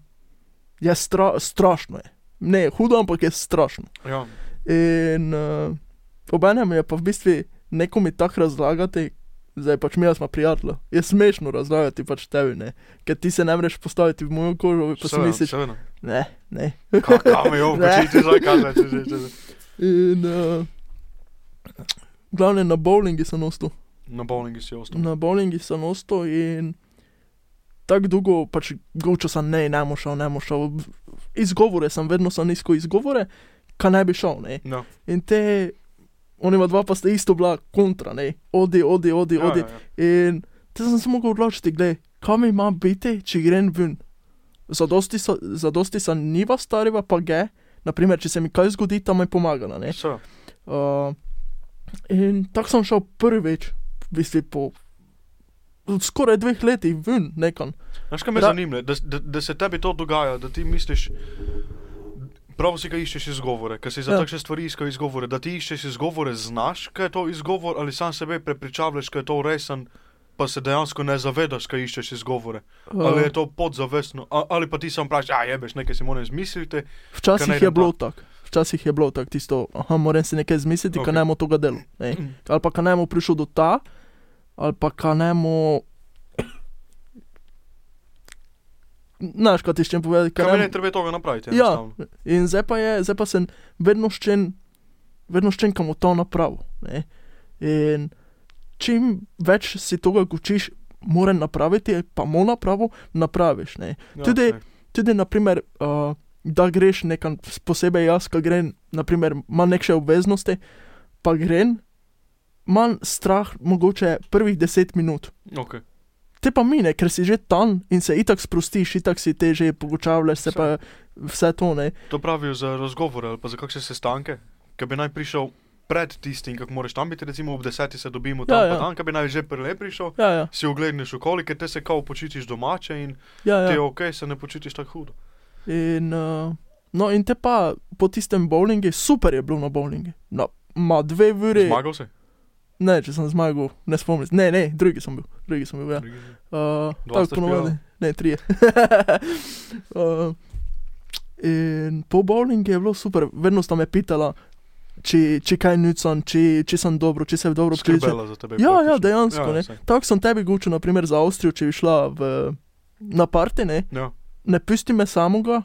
[SPEAKER 2] je stra strašno. Je. Ne, je hudo, ampak je strašno.
[SPEAKER 1] Ja.
[SPEAKER 2] In uh, obenem je pa v bistvu nekomu tako razlagati, zdaj pač mi smo prijatelji, je smešno razlagati pač tebi, ne? ker ti se ne moreš postaviti v mojo kožo, pa si
[SPEAKER 1] Seveda,
[SPEAKER 2] misliš,
[SPEAKER 1] seveda.
[SPEAKER 2] ne, ne.
[SPEAKER 1] Kam je ovo,
[SPEAKER 2] Ne.
[SPEAKER 1] če ti zdaj kažeš?
[SPEAKER 2] In uh, glavne na bowlingi sem ostal.
[SPEAKER 1] Na bowlingu si ostal.
[SPEAKER 2] Na bowlingi sem ostal in tako dolgo pač gočo sem ne, ne mo šel, ne mo šel. Izgovore sem, vedno sem iskal izgovore, kaj naj bi šel, ne.
[SPEAKER 1] No.
[SPEAKER 2] In te, onima dva pa sta isto bila kontra, ne. Odi, odi, odi,
[SPEAKER 1] Ja,
[SPEAKER 2] odi.
[SPEAKER 1] ja, ja.
[SPEAKER 2] In te sem se mogel odločiti, gled, kam imam biti, če grem ven. Zadosti so- Zadosti se niva stariva, pa ge, naprimer, če se mi kaj zgodi, tam je pomagala. Ne?
[SPEAKER 1] Seveda.
[SPEAKER 2] Uh, in tako sem šel prvič, v bistvu po skoraj dveh letih ven nekam.
[SPEAKER 1] Znaš, kaj me
[SPEAKER 2] Ra-
[SPEAKER 1] zanima, da, da, da se tebi to dogaja, da ti misliš, prav si ga iščeš izgovore, ker si za
[SPEAKER 2] Ja.
[SPEAKER 1] ja. takšne stvari iskal izgovore, da ti iščeš izgovore, znaš, kaj je to izgovor ali sam sebe prepričavaš, kaj je to resen, pa se dejansko ne zavedaš, kaj iščeš izgovore.
[SPEAKER 2] Uh,
[SPEAKER 1] Ali je to podzavestno, a, ali pa ti sam praviš, a jebeš, nekaj si moram izmisliti. Kaj
[SPEAKER 2] Včasih
[SPEAKER 1] naj
[SPEAKER 2] je
[SPEAKER 1] idem
[SPEAKER 2] bilo tako. Včasih je bilo tako tisto, aha, moram si nekaj izmisliti, okay. kaj
[SPEAKER 1] Okej. Mm.
[SPEAKER 2] naj mu tega delo. Ne? Ali pa kaj naj mu prišel do ta, ali pa kaj naj mu. Znaš, kaj ti še povedati, kaj
[SPEAKER 1] Kaj
[SPEAKER 2] naj
[SPEAKER 1] ne
[SPEAKER 2] mu-
[SPEAKER 1] treba toga napraviti?
[SPEAKER 2] Ja,
[SPEAKER 1] enostavno.
[SPEAKER 2] in zdaj pa je, zdaj pa sem vedno ščen, vedno ščen, kam v to napravo. Ne? In čim več si tega učiš, moram napraviti, pa mu napravo napraviš. Ne?
[SPEAKER 1] Ja,
[SPEAKER 2] Tudi-
[SPEAKER 1] ne.
[SPEAKER 2] tudi, naprimer, uh, da greš nekam, s- posebej jaz, ki grem, naprimer, imam neke obveznosti, pa grem, imam strah mogoče prvih deset minut.
[SPEAKER 1] Okay.
[SPEAKER 2] Te pa mine, ker si že tam in se itak sprostiš, itak si te že pogočavljaš, se pa vse to ne.
[SPEAKER 1] To pravijo za razgovore ali pa za kakšne sestanke, ki bi naj prišel pred tistim, kako moraš tam biti, recimo ob desetih se dobimo tam,
[SPEAKER 2] Ja,
[SPEAKER 1] ja,
[SPEAKER 2] ja.
[SPEAKER 1] ja. tam, ki bi naj že prele prišel.
[SPEAKER 2] Ja, ja,
[SPEAKER 1] si ogledneš okoli, ker te se kao počutiš domače in
[SPEAKER 2] ja. ja.
[SPEAKER 1] ti je ok, se ne počutiš tako hudo.
[SPEAKER 2] In, uh, no, in te pa po tistem bowlingu, super je bilo na bowlingu. No, ma dve uri.
[SPEAKER 1] Zmagal si?
[SPEAKER 2] Ne, če sem zmagal, ne spomnim. se. Ne, ne, drugi sem bil, drugi sem bil, ja. Uh,
[SPEAKER 1] Dva
[SPEAKER 2] tako
[SPEAKER 1] sta
[SPEAKER 2] ponovadi,
[SPEAKER 1] špilala.
[SPEAKER 2] ne, trije. uh, in po bowlingu je bilo super, vedno sta me pitala, če, če kaj nucam, če, če sem dobro, če se dobro počutim.
[SPEAKER 1] Skrbela za tebe.
[SPEAKER 2] Ja,
[SPEAKER 1] praktično.
[SPEAKER 2] ja, dejansko, ne.
[SPEAKER 1] saj.
[SPEAKER 2] Tako sem tebi gučil, naprimer, za Avstrijo, če bi šla v, na parte, ne,
[SPEAKER 1] Ja.
[SPEAKER 2] ne pusti me samoga,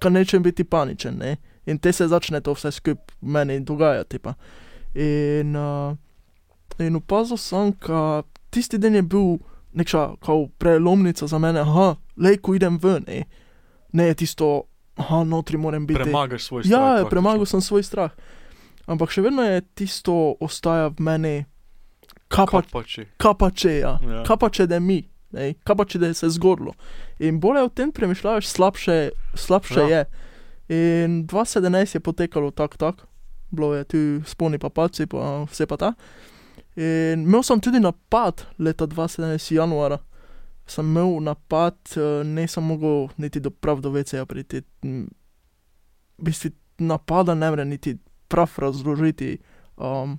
[SPEAKER 2] ker nečem biti paničen. Ne? In te se začne to vse skupaj meni dogajati. Pa. In, uh, in opazil sem, da tisti dan je bil neka kao prelomnica za mene, aha, le ko idem ven, ne, ne je tisto, aha, notri moram biti.
[SPEAKER 1] Premagaš svoj strah.
[SPEAKER 2] Ja,
[SPEAKER 1] praktično.
[SPEAKER 2] premagal sem svoj strah. Ampak še vedno je tisto ostaja v meni, kaj pa
[SPEAKER 1] Kaj pa če?
[SPEAKER 2] kapače, ja.
[SPEAKER 1] Ja.
[SPEAKER 2] kapače da mi, ne? kapače da je se zgodilo. In bolje o tem premišljaš, slabše, slabše
[SPEAKER 1] Ja.
[SPEAKER 2] ja. je. In 2017 je potekalo tako, tako, bilo je tu sponi pa paci, pa vse pa ta. In imel sem tudi napad leta 2017, januara. Sem imel napad, eh, nisem mogel niti do prav do VC-ja priti. M, V bistvu napada ne more niti prav razložiti. Um,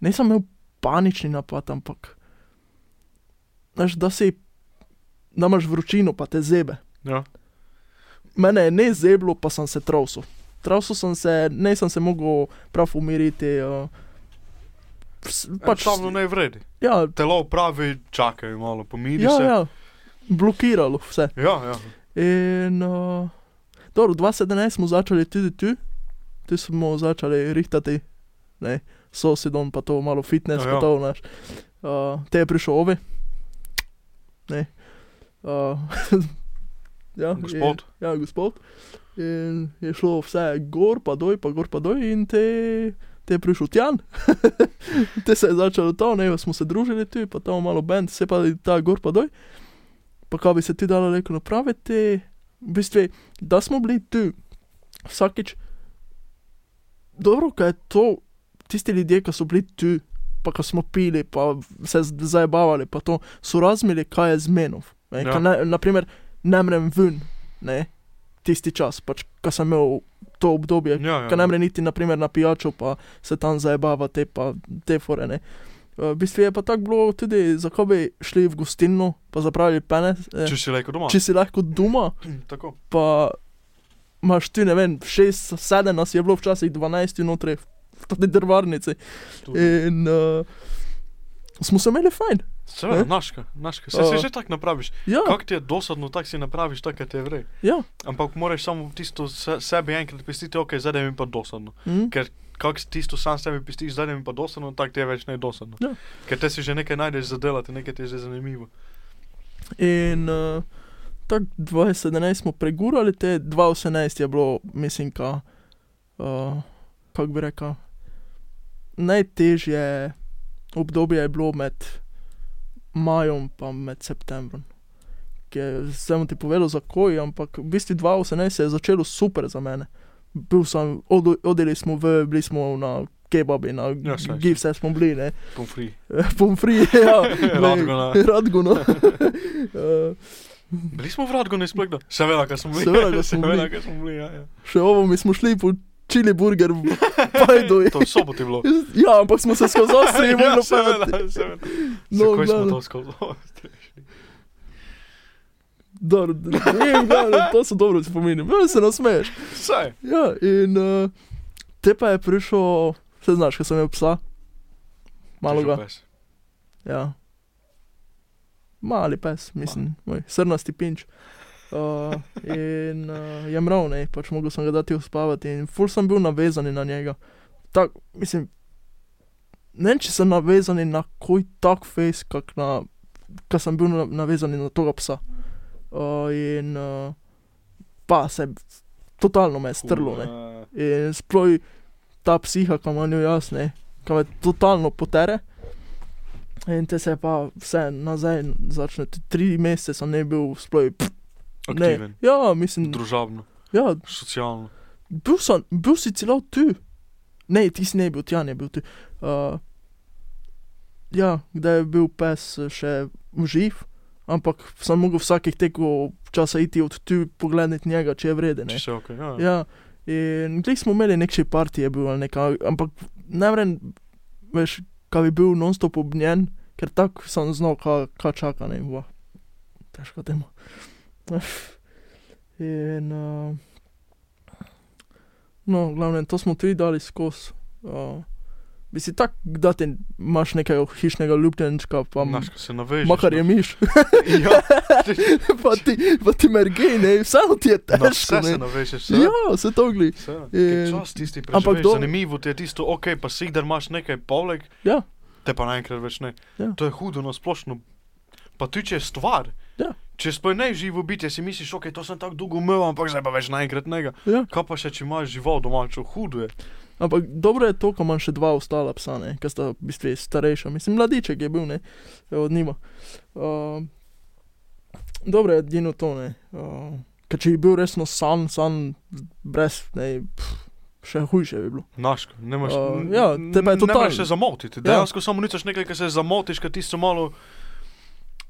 [SPEAKER 2] nisem imel panični napad, ampak znaš, da si, da imaš vročino, pa te zebe.
[SPEAKER 1] Ja.
[SPEAKER 2] Mene je ne zeblo, pa sem se trosil. Trosil sem se, nisem se mogel prav umiriti. Uh, vs-
[SPEAKER 1] Pač
[SPEAKER 2] pač,
[SPEAKER 1] samo ne vredi.
[SPEAKER 2] ja,
[SPEAKER 1] Telo pravi, čakaj malo, pomiri
[SPEAKER 2] ja,
[SPEAKER 1] se.
[SPEAKER 2] ja, blokiralo vse.
[SPEAKER 1] ja, ja.
[SPEAKER 2] In uh, dobro, 2017 smo začeli tudi tu, tu smo začeli rihtati, ne, sosedom pa to malo fitness,
[SPEAKER 1] Ja,
[SPEAKER 2] ja,
[SPEAKER 1] ja.
[SPEAKER 2] ja. to naš. Uh, te je prišel ovi. Ne. Uh, ja,
[SPEAKER 1] Gospod.
[SPEAKER 2] In, ja, gospod. In je šlo vse gor, pa dol, pa gor, pa dol, in te, te je prišel tjan. te se je začelo to, ne, smo se družili tu, pa tam malo bend, se pa ta gor, pa dol. Pa kaj bi se ti dalo reko napraviti, v bistvu, da smo bili tu vsakič. Dobro, kaj je to, tisti ljudje, ki so bili tu, pa ki smo pili, pa se z- zabavali, pa to, so razumeli, kaj je zmenov. Ne,
[SPEAKER 1] Ja.
[SPEAKER 2] ja. ne, naprimer, ne mrem ven, ne, tisti čas, pač, ko sem imel to obdobje,
[SPEAKER 1] ja, ja.
[SPEAKER 2] Ker ne more niti naprimer, na pijačo, pa se tam zabava te, pa te forene. Uh, v bistvu je pa tako bilo tudi, zakaj bi šli v gostilno, pa zapravili penes. Eh,
[SPEAKER 1] Če si rekel doma.
[SPEAKER 2] če si lahko doma,
[SPEAKER 1] Tako.
[SPEAKER 2] pa imaš ti, ne vem, šest, sedem nas je bilo včasih dvanajst znotraj, v tej drvarnici.
[SPEAKER 1] Tudi.
[SPEAKER 2] In uh, smo se imeli fajn,
[SPEAKER 1] Seveda,
[SPEAKER 2] Ne?
[SPEAKER 1] naška, naška. Se, se
[SPEAKER 2] A.
[SPEAKER 1] že tako napraviš.
[SPEAKER 2] Ja,
[SPEAKER 1] Kako ti je dosadno, tako si napraviš, tako kot te vre.
[SPEAKER 2] ja.
[SPEAKER 1] Ampak moraš samo tisto se, sebi enkrat pestiti, ok, zdaj je mi pa dosadno.
[SPEAKER 2] Mm.
[SPEAKER 1] Ker kako si tisto sam sebi pestiš, zdaj je mi pa dosadno, tako ti je več ne dosadno.
[SPEAKER 2] Ja.
[SPEAKER 1] Ker te si že nekaj najdeš za delati, nekaj ti je že zanimivo.
[SPEAKER 2] In uh, tako 2017 smo pregurali, te 2018 je bilo, mislim, ka, uh, kako bi rekel, najtežje obdobje je bilo med majem in med septembrom. Ker sem ti povedal, zakaj, ampak v bistvu 2018 se je začelo super za mene. Bil sem, od, odeli smo v, bili smo na kebabi, na
[SPEAKER 1] Ja, saj, saj.
[SPEAKER 2] gib, vse smo bili, ne.
[SPEAKER 1] Pomfri.
[SPEAKER 2] Pomfri, ja. glej,
[SPEAKER 1] Radgona.
[SPEAKER 2] Radgona. Eh,
[SPEAKER 1] Bili smo v Radgonu izplekli? Seveda, ker smo bili.
[SPEAKER 2] Seveda, ko smo
[SPEAKER 1] Seveda,
[SPEAKER 2] bili.
[SPEAKER 1] ker smo bili. Ja, ja.
[SPEAKER 2] Še ovo mi smo šli po čili burger v Pajdu.
[SPEAKER 1] To je sobot je bilo.
[SPEAKER 2] Ja, ampak smo se skozi ostri
[SPEAKER 1] ja,
[SPEAKER 2] in morali
[SPEAKER 1] seveda, seveda. No,
[SPEAKER 2] No,
[SPEAKER 1] Zakaj smo
[SPEAKER 2] glavno.
[SPEAKER 1] to skozi?
[SPEAKER 2] Dobro, ne, glavno, to so dobro spomini. Malo se nasmeješ.
[SPEAKER 1] Vse.
[SPEAKER 2] Ja, in uh, te pa je prišel, se znaš, kaj sem imel psa. Malo ga. Ja. Mali pes, mislim, moj srnasti pinč. Uh, in uh, je mrav, ne, pač mogel sem ga dati uspavati in ful sem bil navezan na njega. Tak, mislim, ne vem, če sem navezan na koj tak face, kak na, kak sem bil na, navezan na toga psa. Uh, in uh, pa se, totalno me je strlo, ne. In sploh ta psiha, ki ima njo jasne, ki me totalno potere. In te se pa vse nazaj začne, T- tri mesece sem ne bil sploh. pff, Ne.
[SPEAKER 1] Aktiven.
[SPEAKER 2] Ja, mislim,
[SPEAKER 1] Družabno,
[SPEAKER 2] ja,
[SPEAKER 1] socialno.
[SPEAKER 2] bil, sem, bil si celo tu. Ne, ti si ne bil, tja ne bil tu. Uh, ja, kdaj je bil pes eh, še živ, ampak sem mogel vsakih tekov časa iti od tu pogledati njega, če je vreden.
[SPEAKER 1] Če se ok. Ja, ja.
[SPEAKER 2] Ja, in glej smo imeli nek še parti, je bil ali nekaj, ampak ne vem, veš, kaj bi bil non-stop obnjen, ker tako sem znal, kaj ka čaka, ne bo. Težko temu. In, uh, no, glavno, to smo tudi dali skozi. Uh, bi si tak, da ti imaš nekaj hišnega ljubljenčka, pa m-
[SPEAKER 1] Naš, ko se navežeš.
[SPEAKER 2] makar je
[SPEAKER 1] na-
[SPEAKER 2] miš,
[SPEAKER 1] Ja,
[SPEAKER 2] pa ti, pa ti mergej, ne, vseeno ti je
[SPEAKER 1] na vse
[SPEAKER 2] težko.
[SPEAKER 1] se
[SPEAKER 2] Ne.
[SPEAKER 1] navežeš. se-
[SPEAKER 2] Ja, se to gli.
[SPEAKER 1] se.
[SPEAKER 2] In-
[SPEAKER 1] Ker Čas tisti
[SPEAKER 2] ampak
[SPEAKER 1] preživiš.
[SPEAKER 2] do-
[SPEAKER 1] Zanimivo ti je tisto, ok, pa si, da imaš nekaj poleg,
[SPEAKER 2] Ja.
[SPEAKER 1] te pa naenkrat več ne.
[SPEAKER 2] Ja.
[SPEAKER 1] To je hudo na splošno. Pa ti če je stvar.
[SPEAKER 2] Ja.
[SPEAKER 1] Če sploh ne živo bitje, si misliš, ok, to sem tako dolgo umel, ampak zdaj pa več naenkrat ne.
[SPEAKER 2] Ja.
[SPEAKER 1] Kaj pa še, če imaš žival domačo, hudo je.
[SPEAKER 2] Ampak dobro je to, ko imam še dva ostala psa, ne, ki sta v bistvu starejša. Mislim, mladiček je bil, ne, od njima. Uh, dobro je edino to, ne. Uh, ker če bi bil resno sam, sam, brez, ne, pff, še hujše bi bilo.
[SPEAKER 1] Naš, ne moreš.
[SPEAKER 2] Uh,
[SPEAKER 1] n-
[SPEAKER 2] ja, te pa je
[SPEAKER 1] n- Ne
[SPEAKER 2] totalno. Ja.
[SPEAKER 1] moreš se zamotiti. Dejansko samo nicaš nekaj, kar se zamotiš, kar tisto malo.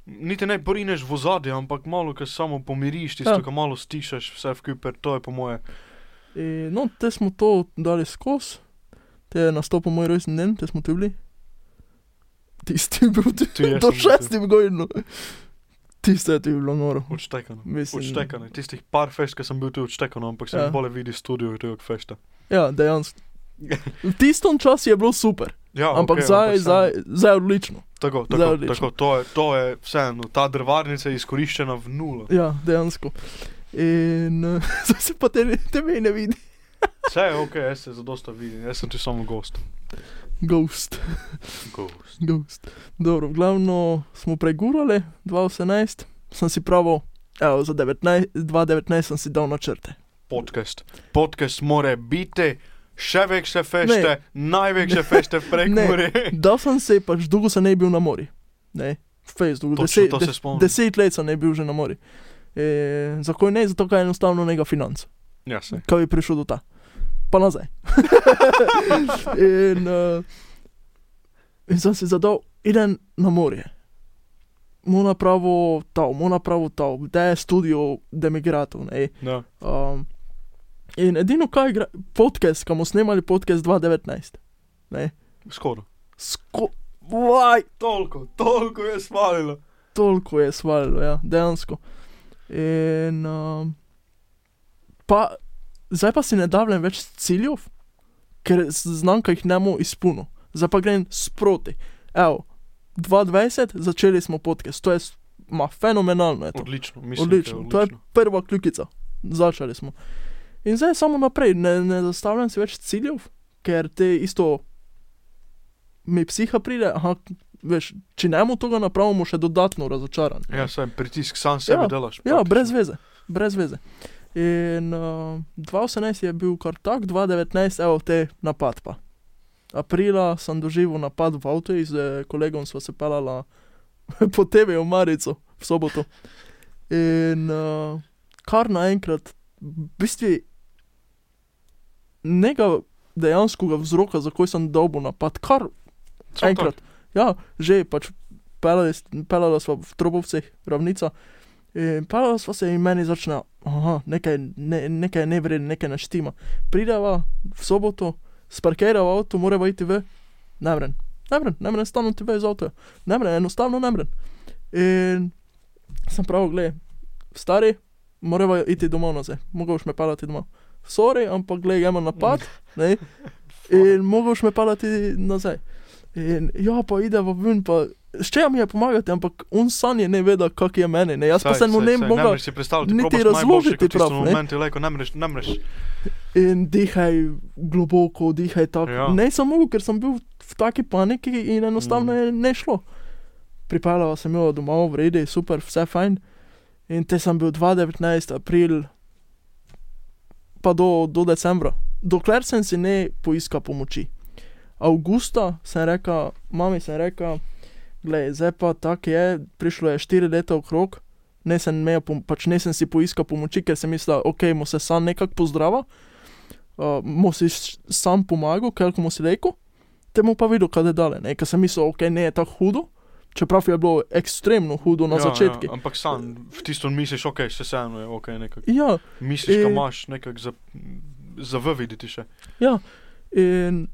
[SPEAKER 1] Niti ne porineš v zadje, ampak malo, kar samo pomiriš, tisto, ja.
[SPEAKER 2] Ja.
[SPEAKER 1] kar malo stišaš, vse v kuper, to je po moje.
[SPEAKER 2] E, no, te smo to dali skozi, te je nastopil moj rojstni dan, te smo tu bili. Tisti je bil tu,
[SPEAKER 1] Tu jaz sem
[SPEAKER 2] do
[SPEAKER 1] bil tu.
[SPEAKER 2] šestim gojno. Tisto je tu bilo noro.
[SPEAKER 1] Odštekano.
[SPEAKER 2] Mislim-
[SPEAKER 1] Odštekano. Tistih par fešt, ki sem bil tu odštekan, ampak sem
[SPEAKER 2] Ja.
[SPEAKER 1] ja. bolje videl studio tega fešta.
[SPEAKER 2] Ja, dejansko. V tistem času je bilo super.
[SPEAKER 1] Ja,
[SPEAKER 2] Ampak
[SPEAKER 1] okej,
[SPEAKER 2] zdaj
[SPEAKER 1] samo-
[SPEAKER 2] okay, je odlično.
[SPEAKER 1] Tako,
[SPEAKER 2] zdaj
[SPEAKER 1] tako,
[SPEAKER 2] odlično.
[SPEAKER 1] tako to, je, to je vseeno, ta drvarnica je izkoriščena v nulo.
[SPEAKER 2] Ja, dejansko. In eh, zdaj se pa te, te me ne vidi,
[SPEAKER 1] Vse je ok, jaz se zadosta vidim, jaz sem tu samo gost.
[SPEAKER 2] ghost.
[SPEAKER 1] Gost.
[SPEAKER 2] ghost. Dobro, glavno smo pregurali 2018, sem si pravil, evo, za 19, 2019 sem si dal načrte.
[SPEAKER 1] Podcast. Podcast more biti. Še večje fešte, največje fešte prek
[SPEAKER 2] Ne.
[SPEAKER 1] more.
[SPEAKER 2] Dal sem se, pač dolgo sem ne bil na mori. Ne, fejs, dolgo.
[SPEAKER 1] Točno
[SPEAKER 2] Deset,
[SPEAKER 1] to se
[SPEAKER 2] de-
[SPEAKER 1] spomnim.
[SPEAKER 2] deset let sem ne bil že na mori. E, zakaj ne? Zato, ker je enostavno nega financ.
[SPEAKER 1] Ja, se.
[SPEAKER 2] kaj je prišel do ta, pa nazaj. in, uh, in sem si zadal, idem na morje. Mu napravo to, mu napravo to, da je studio demigratov. ne.
[SPEAKER 1] Ja.
[SPEAKER 2] Um, in edino, kaj igra, podcast, kam smo snemali podcast 2019. Ne?
[SPEAKER 1] Skoro.
[SPEAKER 2] Sko, vaj,
[SPEAKER 1] Toliko, toliko je svalilo.
[SPEAKER 2] toliko je svalilo, ja, dejansko. In, um, pa, zdaj pa si ne davljam več ciljev, ker znam, kaj jih ne bom izpolnil. Zdaj pa grem sproti. Evo, 2020 začeli smo podcast, to je s- ma, fenomenalno. Je to.
[SPEAKER 1] Odlično, mislim. da je
[SPEAKER 2] Odlično, to je prva kljukica. Začeli smo. In zdaj samo naprej, ne, ne zastavljam si več ciljev, ker te isto mi psiha pride, aha, veš, če ne mu tega napravimo, še dodatno razočaran.
[SPEAKER 1] Ja, sem pritisk, sam sebe
[SPEAKER 2] Ja,
[SPEAKER 1] delaš.
[SPEAKER 2] Ja,
[SPEAKER 1] praktično.
[SPEAKER 2] brez veze, brez veze. In uh, 2018 je bil kar tak, 2019, evo te napad pa. Aprila sem doživel napad v avtu in z eh, kolegom sva se pelala po tebi v Marico v soboto. In uh, kar naenkrat, v bistvu, nekaj dejanskega vzroka, zakaj sem dobil napad, kar
[SPEAKER 1] Samo
[SPEAKER 2] enkrat. Ja, že pač pelali, pelala sva v Trobovcih, ravnica. In pelala sva se in meni začne, aha, nekaj, ne, nekaj ne vredno, nekaj naštima. Prideva v soboto, sparkirava avto, morava iti v Nemren. Nemren, Nemren, stalno ti ve iz avta. Nemren, enostavno Nemren. In sem prav, gled, stari, morava iti domov nazaj, mogoš me pelati domov. Sorry, ampak gled, imamo napad, ne? In mogoš me pelati nazaj. In ja, pa ideva ven, pa ščeja mi je pomagati, ampak on sam je ne veda, kak je meni, ne? Jaz pa
[SPEAKER 1] Saj,
[SPEAKER 2] se mu
[SPEAKER 1] saj,
[SPEAKER 2] ne
[SPEAKER 1] saj,
[SPEAKER 2] mogla
[SPEAKER 1] moreš si predstavljati,
[SPEAKER 2] niti
[SPEAKER 1] probaš najboljše,
[SPEAKER 2] razložiti
[SPEAKER 1] kot v tistem
[SPEAKER 2] prav, ne.
[SPEAKER 1] momentu, lejko, ne moreš, ne moreš.
[SPEAKER 2] In dihaj globoko, dihaj tako.
[SPEAKER 1] Ja.
[SPEAKER 2] Ja. Ne sem mogel, ker sem bil v taki paniki in enostavno
[SPEAKER 1] Mm.
[SPEAKER 2] mm. je ne šlo. Pripeljal sem jo domov, v redu, super, vse fajn. In te sem bil 2019, april, pa do, do decembra. Dokler sem si ne poiskal pomoči. Augusta sem rekel, mami sem rekel, glej, zdaj pa tako je, prišlo je 4 leta okrog, ne sem, imel pom- pač ne sem si poiskal pomoči, ker sem mislil, ok, mu se sam nekako pozdrava, uh, mu si s- sam pomagal, ker mu si rekel, temu pa videl, kaj je dale, ne, ker sem mislil, ok, ne je tako hudo, čeprav je bilo ekstremno hudo na ja, začetku.
[SPEAKER 1] Ja, ampak sam v tistem misliš, ok, še vseeno je, ok, nekako.
[SPEAKER 2] Ja. ja,
[SPEAKER 1] Misliš, da
[SPEAKER 2] In-
[SPEAKER 1] imaš nekako za, za v videti še.
[SPEAKER 2] In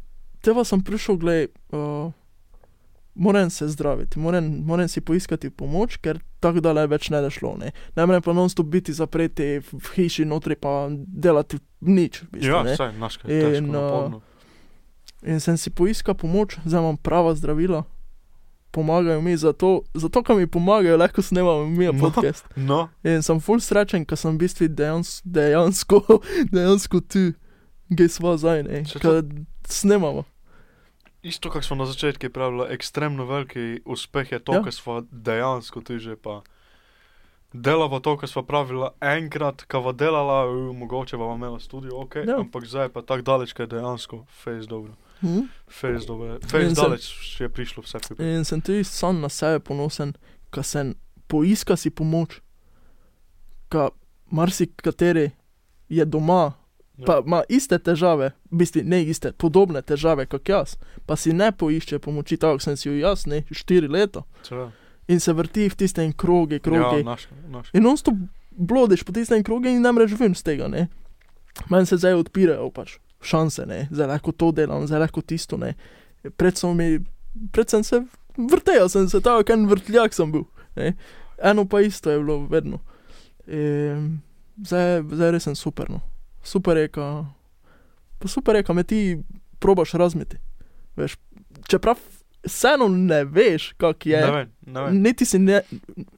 [SPEAKER 2] teva sem prišel, glej, uh, moram se zdraviti, moram, moram si poiskati pomoč, ker tako dale več ne da šlo. Ne, ne morem pa non-stop biti zapreti v v hiši, notri pa delati nič. V bistvu,
[SPEAKER 1] Ja,
[SPEAKER 2] ne.
[SPEAKER 1] vse, naš kaj,
[SPEAKER 2] In,
[SPEAKER 1] težko,
[SPEAKER 2] uh,
[SPEAKER 1] naporno.
[SPEAKER 2] In sem si poiskal pomoč, zdaj imam prava zdravila. Pomagajo mi zato, zato ker mi pomagajo, lahko snemam mi
[SPEAKER 1] No.
[SPEAKER 2] podcast.
[SPEAKER 1] No,
[SPEAKER 2] In sem full srečen, ker sem v bistvu dejans, dejansko, dejansko tu, gesva zdaj, ne,
[SPEAKER 1] Saj to-
[SPEAKER 2] ker snemamo.
[SPEAKER 1] isto, kar smo na začetku pravili, ekstremno veliki uspeh je to,
[SPEAKER 2] Ja.
[SPEAKER 1] ja. kar smo dejansko ti že pa. Delava to, kar smo pravila enkrat, kava delala, "U, mogoče bova imela studio, ok,
[SPEAKER 2] Ja.
[SPEAKER 1] ja. ampak zdaj je pa tako daleč, kaj dejansko, fez dobro.
[SPEAKER 2] Hm?
[SPEAKER 1] Fez dobro, fez
[SPEAKER 2] In sem-
[SPEAKER 1] daleč je prišlo vse. skupaj.
[SPEAKER 2] In sem tudi sam na sebe ponosen, ker sem poiskal si pomoč. Ker marsikateri je doma,
[SPEAKER 1] Ja.
[SPEAKER 2] pa ima iste težave, v bistvu ne iste, podobne težave kot jaz, pa si ne poišče pomoči, tako kot sem si jo jaz, ne štiri leta.
[SPEAKER 1] Seveda.
[SPEAKER 2] In se vrti v tistem krogu, krogu.
[SPEAKER 1] Ja, naš, naš.
[SPEAKER 2] In on stop blodeš po tistem krogu in namreč ven z tega. Ne? Meni se zdaj odpirajo pač šanse, ne? zdaj lahko to delam, zdaj lahko tisto. Ne? Pred sem, mi, pred sem se vrtel, sem se tako en vrtljak sem bil. Ne? Eno pa isto je bilo vedno. E, zdaj, zdaj res sem super. No. Super je, ka, pa super je, ka me ti probaš razmeti. Veš, čeprav vseeno ne veš, kak je.
[SPEAKER 1] Ne vem, ne vem.
[SPEAKER 2] Niti si ne,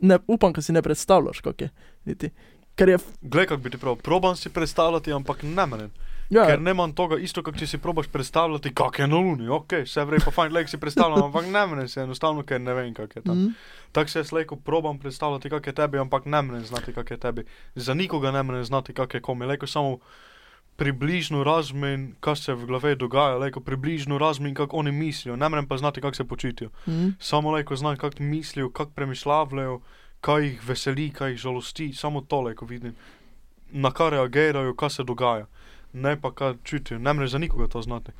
[SPEAKER 2] ne upam, da si ne predstavljaš, kako je. Niti. Ker je,
[SPEAKER 1] Glej, kako bi ti prav, probam si predstavljati, ampak ne menem.
[SPEAKER 2] ja,
[SPEAKER 1] Ker nemam toga isto, kot če si probaš predstavljati, kak je na Luni. Ok, vse vrej pa fajn, lek si predstavljam, ampak ne menem se enostavno, ker ne vem, kak je tam.
[SPEAKER 2] mm,
[SPEAKER 1] Tako se jaz leko probam predstavljati, kak je tebi, ampak ne menem znati, kak je tebi. Za nikoga ne menem znati, kak je komi. Leko samo približno razmin, kaj se v glavi dogaja, leko približno razmin, kako oni mislijo. Ne menem pa znati, kak se počutijo.
[SPEAKER 2] mm,
[SPEAKER 1] Samo leko znam, kak mislijo, kak premišljavajo, kaj jih veseli, kaj jih žalosti, samo to leko vidim. Na kar reagirajo, kaj se dogaja. Ne pa kaj čutijo, ne mre za nikoga to znati.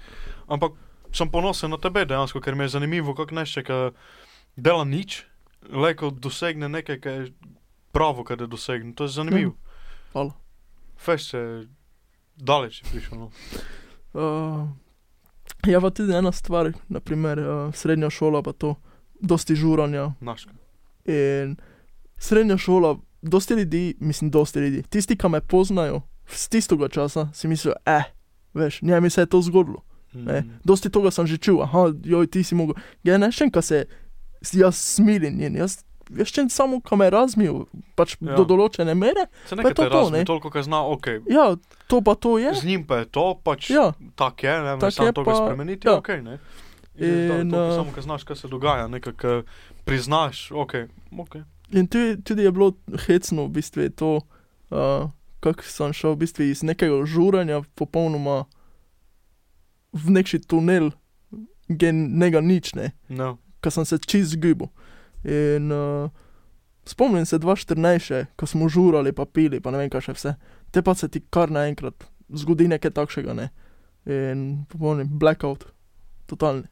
[SPEAKER 1] Ampak sem ponosen na tebe dejansko, ker mi je zanimivo, kako nešče, ki dela nič, leko dosegne nekaj, kar je pravo, kar je dosegne. To je zanimivo.
[SPEAKER 2] Mhm. hvala.
[SPEAKER 1] Fest je daleč je prišel. No.
[SPEAKER 2] Uh, je ja, pa tudi ena stvar, naprimer uh, srednja šola, pa to, dosti žuranja.
[SPEAKER 1] Naška.
[SPEAKER 2] In srednja šola, dosti ljudi, mislim, dosti ljudi, tisti, ki me poznajo z tistega časa, si mislijo, eh, veš, njemi se je
[SPEAKER 1] Mm.
[SPEAKER 2] to zgodilo. Ne? Dosti tega sem že čutil, aha, joj, ti si mogel. Ja, ne še en, ki se si jaz smiljen njen. Jaz veščem samo kamerazmijo, pač
[SPEAKER 1] Ja.
[SPEAKER 2] ja. do določene mere.
[SPEAKER 1] Se
[SPEAKER 2] Pa je to
[SPEAKER 1] nekaj
[SPEAKER 2] to,
[SPEAKER 1] razumem,
[SPEAKER 2] ne?
[SPEAKER 1] toliko, kar zna, ok.
[SPEAKER 2] Ja, to pa to je.
[SPEAKER 1] Z njim pa je to, pač
[SPEAKER 2] Ja,
[SPEAKER 1] tak je, ne
[SPEAKER 2] Tak
[SPEAKER 1] moreš sam
[SPEAKER 2] je
[SPEAKER 1] tega
[SPEAKER 2] pa-
[SPEAKER 1] spremeniti,
[SPEAKER 2] ja.
[SPEAKER 1] ok. Ne? In,
[SPEAKER 2] In,
[SPEAKER 1] to,
[SPEAKER 2] eh,
[SPEAKER 1] samo, ker znaš, kaj se dogaja, nekako priznaš, ok, ok.
[SPEAKER 2] in tudi, tudi je bilo hecno, v bistvu je to, uh, kako sem šel v bistvu iz nekega žuranja popolnoma v neki tunel, gen nega nič ne.
[SPEAKER 1] No.
[SPEAKER 2] ko sem se čist zgibil. In uh, spomnim se 2014, še, ko smo žurali, pa pili, pa ne vem, kaj še vse. Te pa se ti kar naenkrat zgodi nekaj takšnega, ne. In popolni blackout, totalni.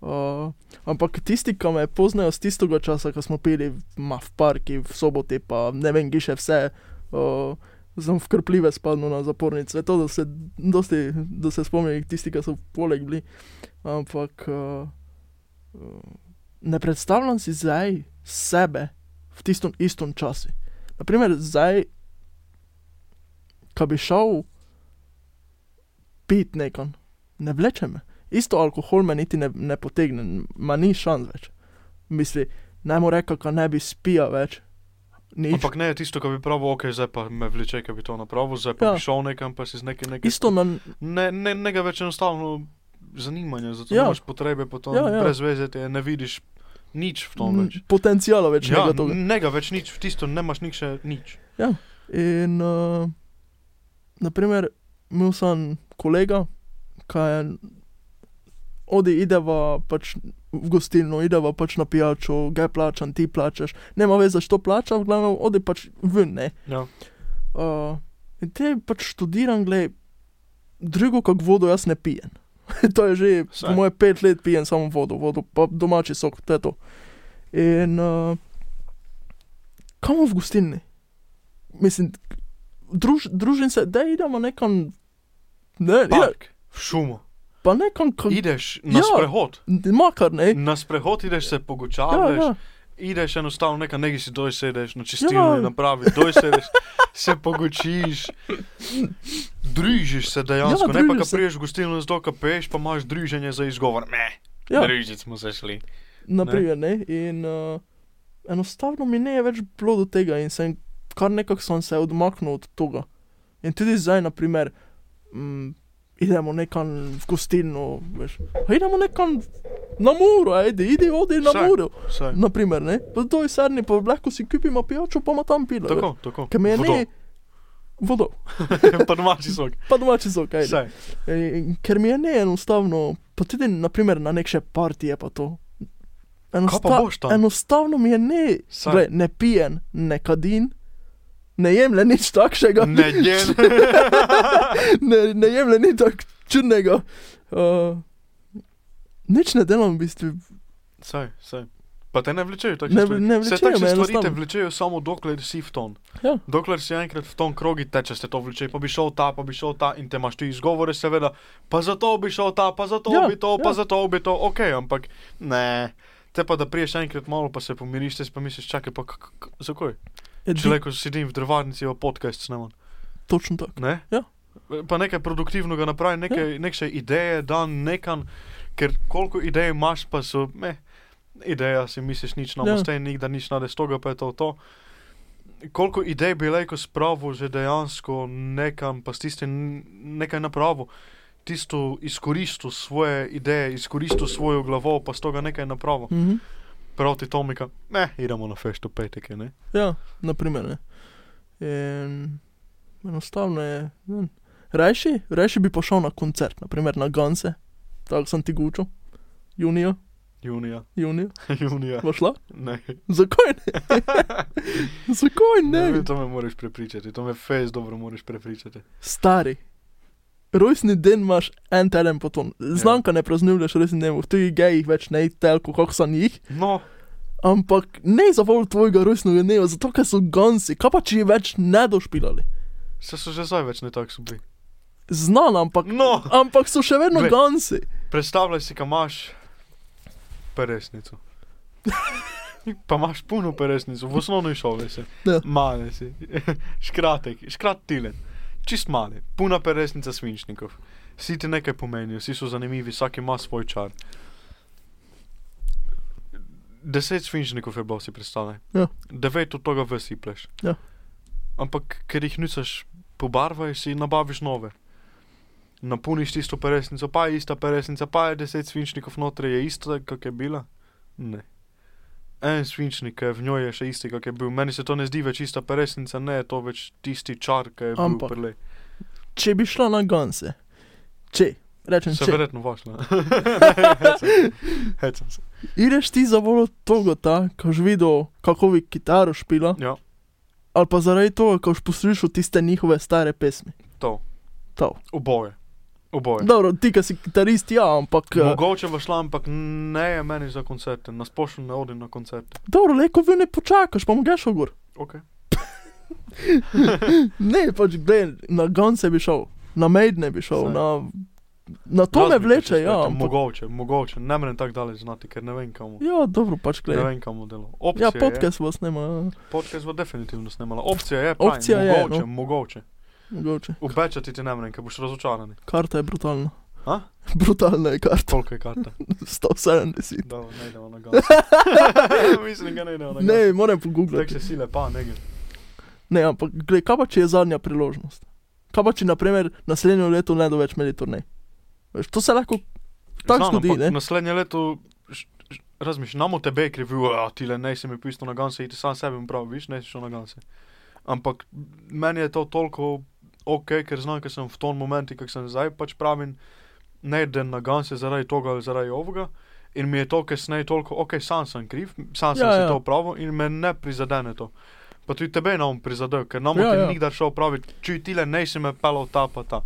[SPEAKER 2] Uh, ampak tisti, ki me poznajo z tistega časa, ko smo pili ma, v parki, v soboti, pa ne vem, ki še vse, uh, sem v krpljive spadnil na zapornice. To, da se, dosti, da se spomnim tisti, ki so poleg bili. Ampak uh, ne predstavljam si zdaj sebe v tistem istem času. Naprimer, zdaj, ko bi šel pit nekam, ne vleče me. Isto alkohol me niti ne, ne potegne, n- ma ni šans več. Misli, naj mu reka, ka ne bi spija več. Nič.
[SPEAKER 1] Ampak ne je tisto, kar bi pravil, ok, zdaj pa me vleče, ker bi to napravil, zdaj pa ja.
[SPEAKER 2] Ja.
[SPEAKER 1] bi šel nekam, pa si z nekim nekaj.
[SPEAKER 2] isto na,
[SPEAKER 1] Ne, ne, ne ga več enostavno zanimanja, zato ja.
[SPEAKER 2] Ja.
[SPEAKER 1] imaš potrebe, potem ja,
[SPEAKER 2] Ja,
[SPEAKER 1] ja.
[SPEAKER 2] ja.
[SPEAKER 1] brez veze te ne vidiš nič v tom več.
[SPEAKER 2] potencijala več
[SPEAKER 1] Ja,
[SPEAKER 2] nega toga.
[SPEAKER 1] ne ga več nič, v tisto ne imaš nič še nič.
[SPEAKER 2] In, uh, naprimer, imel sem kolega, ki je odi, ideva pač v gostilno, ideva pač na pijačo, ga plačam, ti plačaš, nema veze, što plača, v glavnem, odi pač ven, ne.
[SPEAKER 1] Ja.
[SPEAKER 2] Uh, in te pač študiram, gled, drugo kak vodo jaz ne pijem. to je že,
[SPEAKER 1] Saj.
[SPEAKER 2] po moje pet let pijem samo vodo, vodo pa domači sok, to je to. In uh, kam v gostilni? Mislim, druž, družim se, da idemo nekam, ne, ide,
[SPEAKER 1] Park, v šumo.
[SPEAKER 2] pa nekam, kam,
[SPEAKER 1] Ideš na ja.
[SPEAKER 2] Ja.
[SPEAKER 1] sprehod.
[SPEAKER 2] makar ne.
[SPEAKER 1] Na sprehod ideš se
[SPEAKER 2] Ja,
[SPEAKER 1] pogočavaš, ja, ja.
[SPEAKER 2] ja.
[SPEAKER 1] ideš enostavno nekam, nekaj si dojsedeš, na čistilni ja.
[SPEAKER 2] Ja.
[SPEAKER 1] napravi, dojsedeš, se pogočiš, družiš se dejansko, ja,
[SPEAKER 2] Ja,
[SPEAKER 1] ne pa,
[SPEAKER 2] družiš
[SPEAKER 1] ko
[SPEAKER 2] se.
[SPEAKER 1] priješ v gostilno, zato ka peš, pa imaš druženje za izgovor. Ne, ja.
[SPEAKER 2] ja.
[SPEAKER 1] družic smo se šli.
[SPEAKER 2] Naprimer, ne. In uh, enostavno mi ne je več bilo do tega in sem kar nekako sem se odmaknil od tega. In tudi zdaj, naprimer, m, idemo nekam v gostilno, veš, "A idemo nekam na muro, ajde, idi, odi na
[SPEAKER 1] Vse.
[SPEAKER 2] muro.
[SPEAKER 1] Vsaj.
[SPEAKER 2] Naprimer, ne. Pa to je sarni, pa lahko si kupimo pijačo, pa ima tam pilo.
[SPEAKER 1] Tako, tako.
[SPEAKER 2] Ker mi je
[SPEAKER 1] Vodo.
[SPEAKER 2] ne. Vodo,
[SPEAKER 1] pa domači sok.
[SPEAKER 2] pa domači so, kaj.
[SPEAKER 1] Vsaj.
[SPEAKER 2] In Ker mi je neenostavno, pa tudi naprimer, na nekše partije pa to.
[SPEAKER 1] Kaj pa boš tam?
[SPEAKER 2] enostavno mi je ne,
[SPEAKER 1] Saj.
[SPEAKER 2] gled, ne pijen, ne kadin, ne jemlje nič takšnega,
[SPEAKER 1] Ne, jen.
[SPEAKER 2] ne, ne jemlje nič tak čudnega. Uh, nič ne delam v bistvu.
[SPEAKER 1] Saj, saj. Pa te ne vlečejo tako
[SPEAKER 2] Ne-
[SPEAKER 1] stvari.
[SPEAKER 2] ne
[SPEAKER 1] Se takšne
[SPEAKER 2] vlečejo me,
[SPEAKER 1] stvari te
[SPEAKER 2] enostavno.
[SPEAKER 1] vlečejo samo dokler si v ton.
[SPEAKER 2] Ja.
[SPEAKER 1] Dokler si enkrat v tom krogi teče, se to vleče, pa bi šel ta, pa bi šel ta in te imaš ti izgovore, seveda, pa zato bi šel ta, pa zato ja,
[SPEAKER 2] Ja,
[SPEAKER 1] bi to, ja. pa
[SPEAKER 2] ja.
[SPEAKER 1] zato bi to, ok, ampak ne. Te pa da priješ enkrat malo, pa se pomiriš, te si pa misliš, čakaj, pa k- k- zakaj? Če le ko sedim v drvarnici, jo podcast snemam.
[SPEAKER 2] Točno tako.
[SPEAKER 1] Ne?
[SPEAKER 2] Ja.
[SPEAKER 1] Pa nekaj produktivnega napravi, nekaj, ja. nekaj ideje, da nekam, ker koliko idej imaš, pa so, ne, ideja si misliš, nič nam
[SPEAKER 2] Ja.
[SPEAKER 1] ostaje, nikdar nič nade stoga, pa je to to. Koliko idej bi lahko spravil že dejansko nekam, pa s tistim nekaj napravil, tisto izkoristil svoje ideje, izkoristil svojo glavo, pa s toga nekaj napravil.
[SPEAKER 2] Mhm.
[SPEAKER 1] Proti Tomika, ne, idemo na fešto petek, je, ne.
[SPEAKER 2] Ja, naprimer. Ne. In enostavno je. ne vem. Rajši, rajši bi pošel na koncert, naprimer na Ganse, tako sem ti gučil, junija,
[SPEAKER 1] Junija,
[SPEAKER 2] junija,
[SPEAKER 1] junija,
[SPEAKER 2] bo šla.
[SPEAKER 1] ne.
[SPEAKER 2] Zakaj ne? Zakaj
[SPEAKER 1] Ne,
[SPEAKER 2] ne?
[SPEAKER 1] ne, to me moraš prepričati, to me fez dobro moraš prepričati.
[SPEAKER 2] Stari. Rojstni dan imaš en teden poton. Znam, ka ne praznuješ rojstni dan, v tujih gejih več ne, telko, kako sem jih,
[SPEAKER 1] No,
[SPEAKER 2] ampak ne za vol tvojega rojstnega dneva, zato ker so gansi, kaj pa če jih več ne došpilali.
[SPEAKER 1] se so že zdaj več ne tako so bili.
[SPEAKER 2] Znam, ampak
[SPEAKER 1] No,
[SPEAKER 2] Ampak so še vedno
[SPEAKER 1] Glej.
[SPEAKER 2] gansi.
[SPEAKER 1] predstavljaj si, kam imaš peresnico. Pa imaš puno peresnico, v osnovni šoli si.
[SPEAKER 2] Ja.
[SPEAKER 1] Male si, škratek, škrat tilen, čist male, puna peresnica svinčnikov. Vsi ti nekaj pomenijo, vsi so zanimivi, vsak ima svoj čar. deset svinčnikov je bilo, si predstavljaj.
[SPEAKER 2] Ja.
[SPEAKER 1] Devet od tega vesipleš.
[SPEAKER 2] Ja.
[SPEAKER 1] Ampak ker jih nisaš pobarvaj, si nabaviš nove. Napuniš tisto peresnico, pa je ista peresnica, pa je deset svinčnikov notri, je ista, kak je bila. Ne. En svinčnik, ki je v njoj je še isti, kak je bil. Meni se to ne zdi več ista peresnica, ne je to več tisti čar, ki je bil
[SPEAKER 2] Ampak-
[SPEAKER 1] prelej.
[SPEAKER 2] Če bi šla na ganse, če, rečem,
[SPEAKER 1] Se
[SPEAKER 2] če
[SPEAKER 1] verjetno vašla. Hecam se. Hecam se.
[SPEAKER 2] ideš ti za volo togota, ko že videl, kako vi kitaro špila,
[SPEAKER 1] Ja,
[SPEAKER 2] ali pa zaradi tega, ko že poslušal tiste njihove stare pesmi.
[SPEAKER 1] to.
[SPEAKER 2] To.
[SPEAKER 1] Oboje. Oboje.
[SPEAKER 2] Dobro, ti, ki si kitarist, ja, ampak... eh,
[SPEAKER 1] Mogoče bo šla, ampak ne je meni za koncerte, na splošno ne odim na koncerte.
[SPEAKER 2] Dobro, le ko vi ne počakaš, pa mu greš ogor.
[SPEAKER 1] Okay.
[SPEAKER 2] Ne, pač gledaj, na gonce bi šel, na maidne bi šel,
[SPEAKER 1] Saj.
[SPEAKER 2] na, na to me vleče, ja. Ampak,
[SPEAKER 1] Mogoče, mogoče, ne morem tako dalje znati, ker ne vem kam.
[SPEAKER 2] ja, dobro, pač
[SPEAKER 1] Ne
[SPEAKER 2] gledaj.
[SPEAKER 1] vem kam delo. Opcija
[SPEAKER 2] Ja,
[SPEAKER 1] je,
[SPEAKER 2] podcast vas nema,
[SPEAKER 1] podcast bo definitivno snimala. Opcija je, pravim,
[SPEAKER 2] Opcija je,
[SPEAKER 1] mogoče,
[SPEAKER 2] no.
[SPEAKER 1] mogoče.
[SPEAKER 2] mogoče.
[SPEAKER 1] Obečati ti ne morem, ker boš razočaran.
[SPEAKER 2] Karta je brutalna.
[SPEAKER 1] A?
[SPEAKER 2] Brutalna je karta,
[SPEAKER 1] Koliko je karta?
[SPEAKER 2] 170.
[SPEAKER 1] Dobro, ne idemo na gas. Mislim, da ne idemo na gas.
[SPEAKER 2] Ne, moram
[SPEAKER 1] Tek
[SPEAKER 2] pogooglati.
[SPEAKER 1] se sile, pa ne gre.
[SPEAKER 2] Ne, ampak gledaj, kaj pa če je zadnja priložnost? Kaj pa če, na primer, naslednjo leto ne do več imeli turnej? Veš, to se lahko tako
[SPEAKER 1] Znam,
[SPEAKER 2] zgodi,
[SPEAKER 1] ampak
[SPEAKER 2] ne?
[SPEAKER 1] Naslednje leto razmišljam, namo tebe je krivil, a ti le ne si mi pisal na ganse, iti sam sebi prav, viš, ne si šel na ganse. Ampak meni je to toliko ok, ker znam, ker sem v tom momentu, kak sem zdaj, pač pravim, ne idem na ganse zaradi tega ali zaradi ovoga. In mi je to kasneje toliko, ok, sam sem kriv, sam sem
[SPEAKER 2] Ja,
[SPEAKER 1] ja, si
[SPEAKER 2] ja.
[SPEAKER 1] ja. to pravil in me ne prizadene to. Pa tudi tebe je nam prizadel, ker nam
[SPEAKER 2] Ja,
[SPEAKER 1] ja, ti
[SPEAKER 2] ja.
[SPEAKER 1] ja. nikdar šel praviti, čuj ti le ne si me pelal ta pa ta.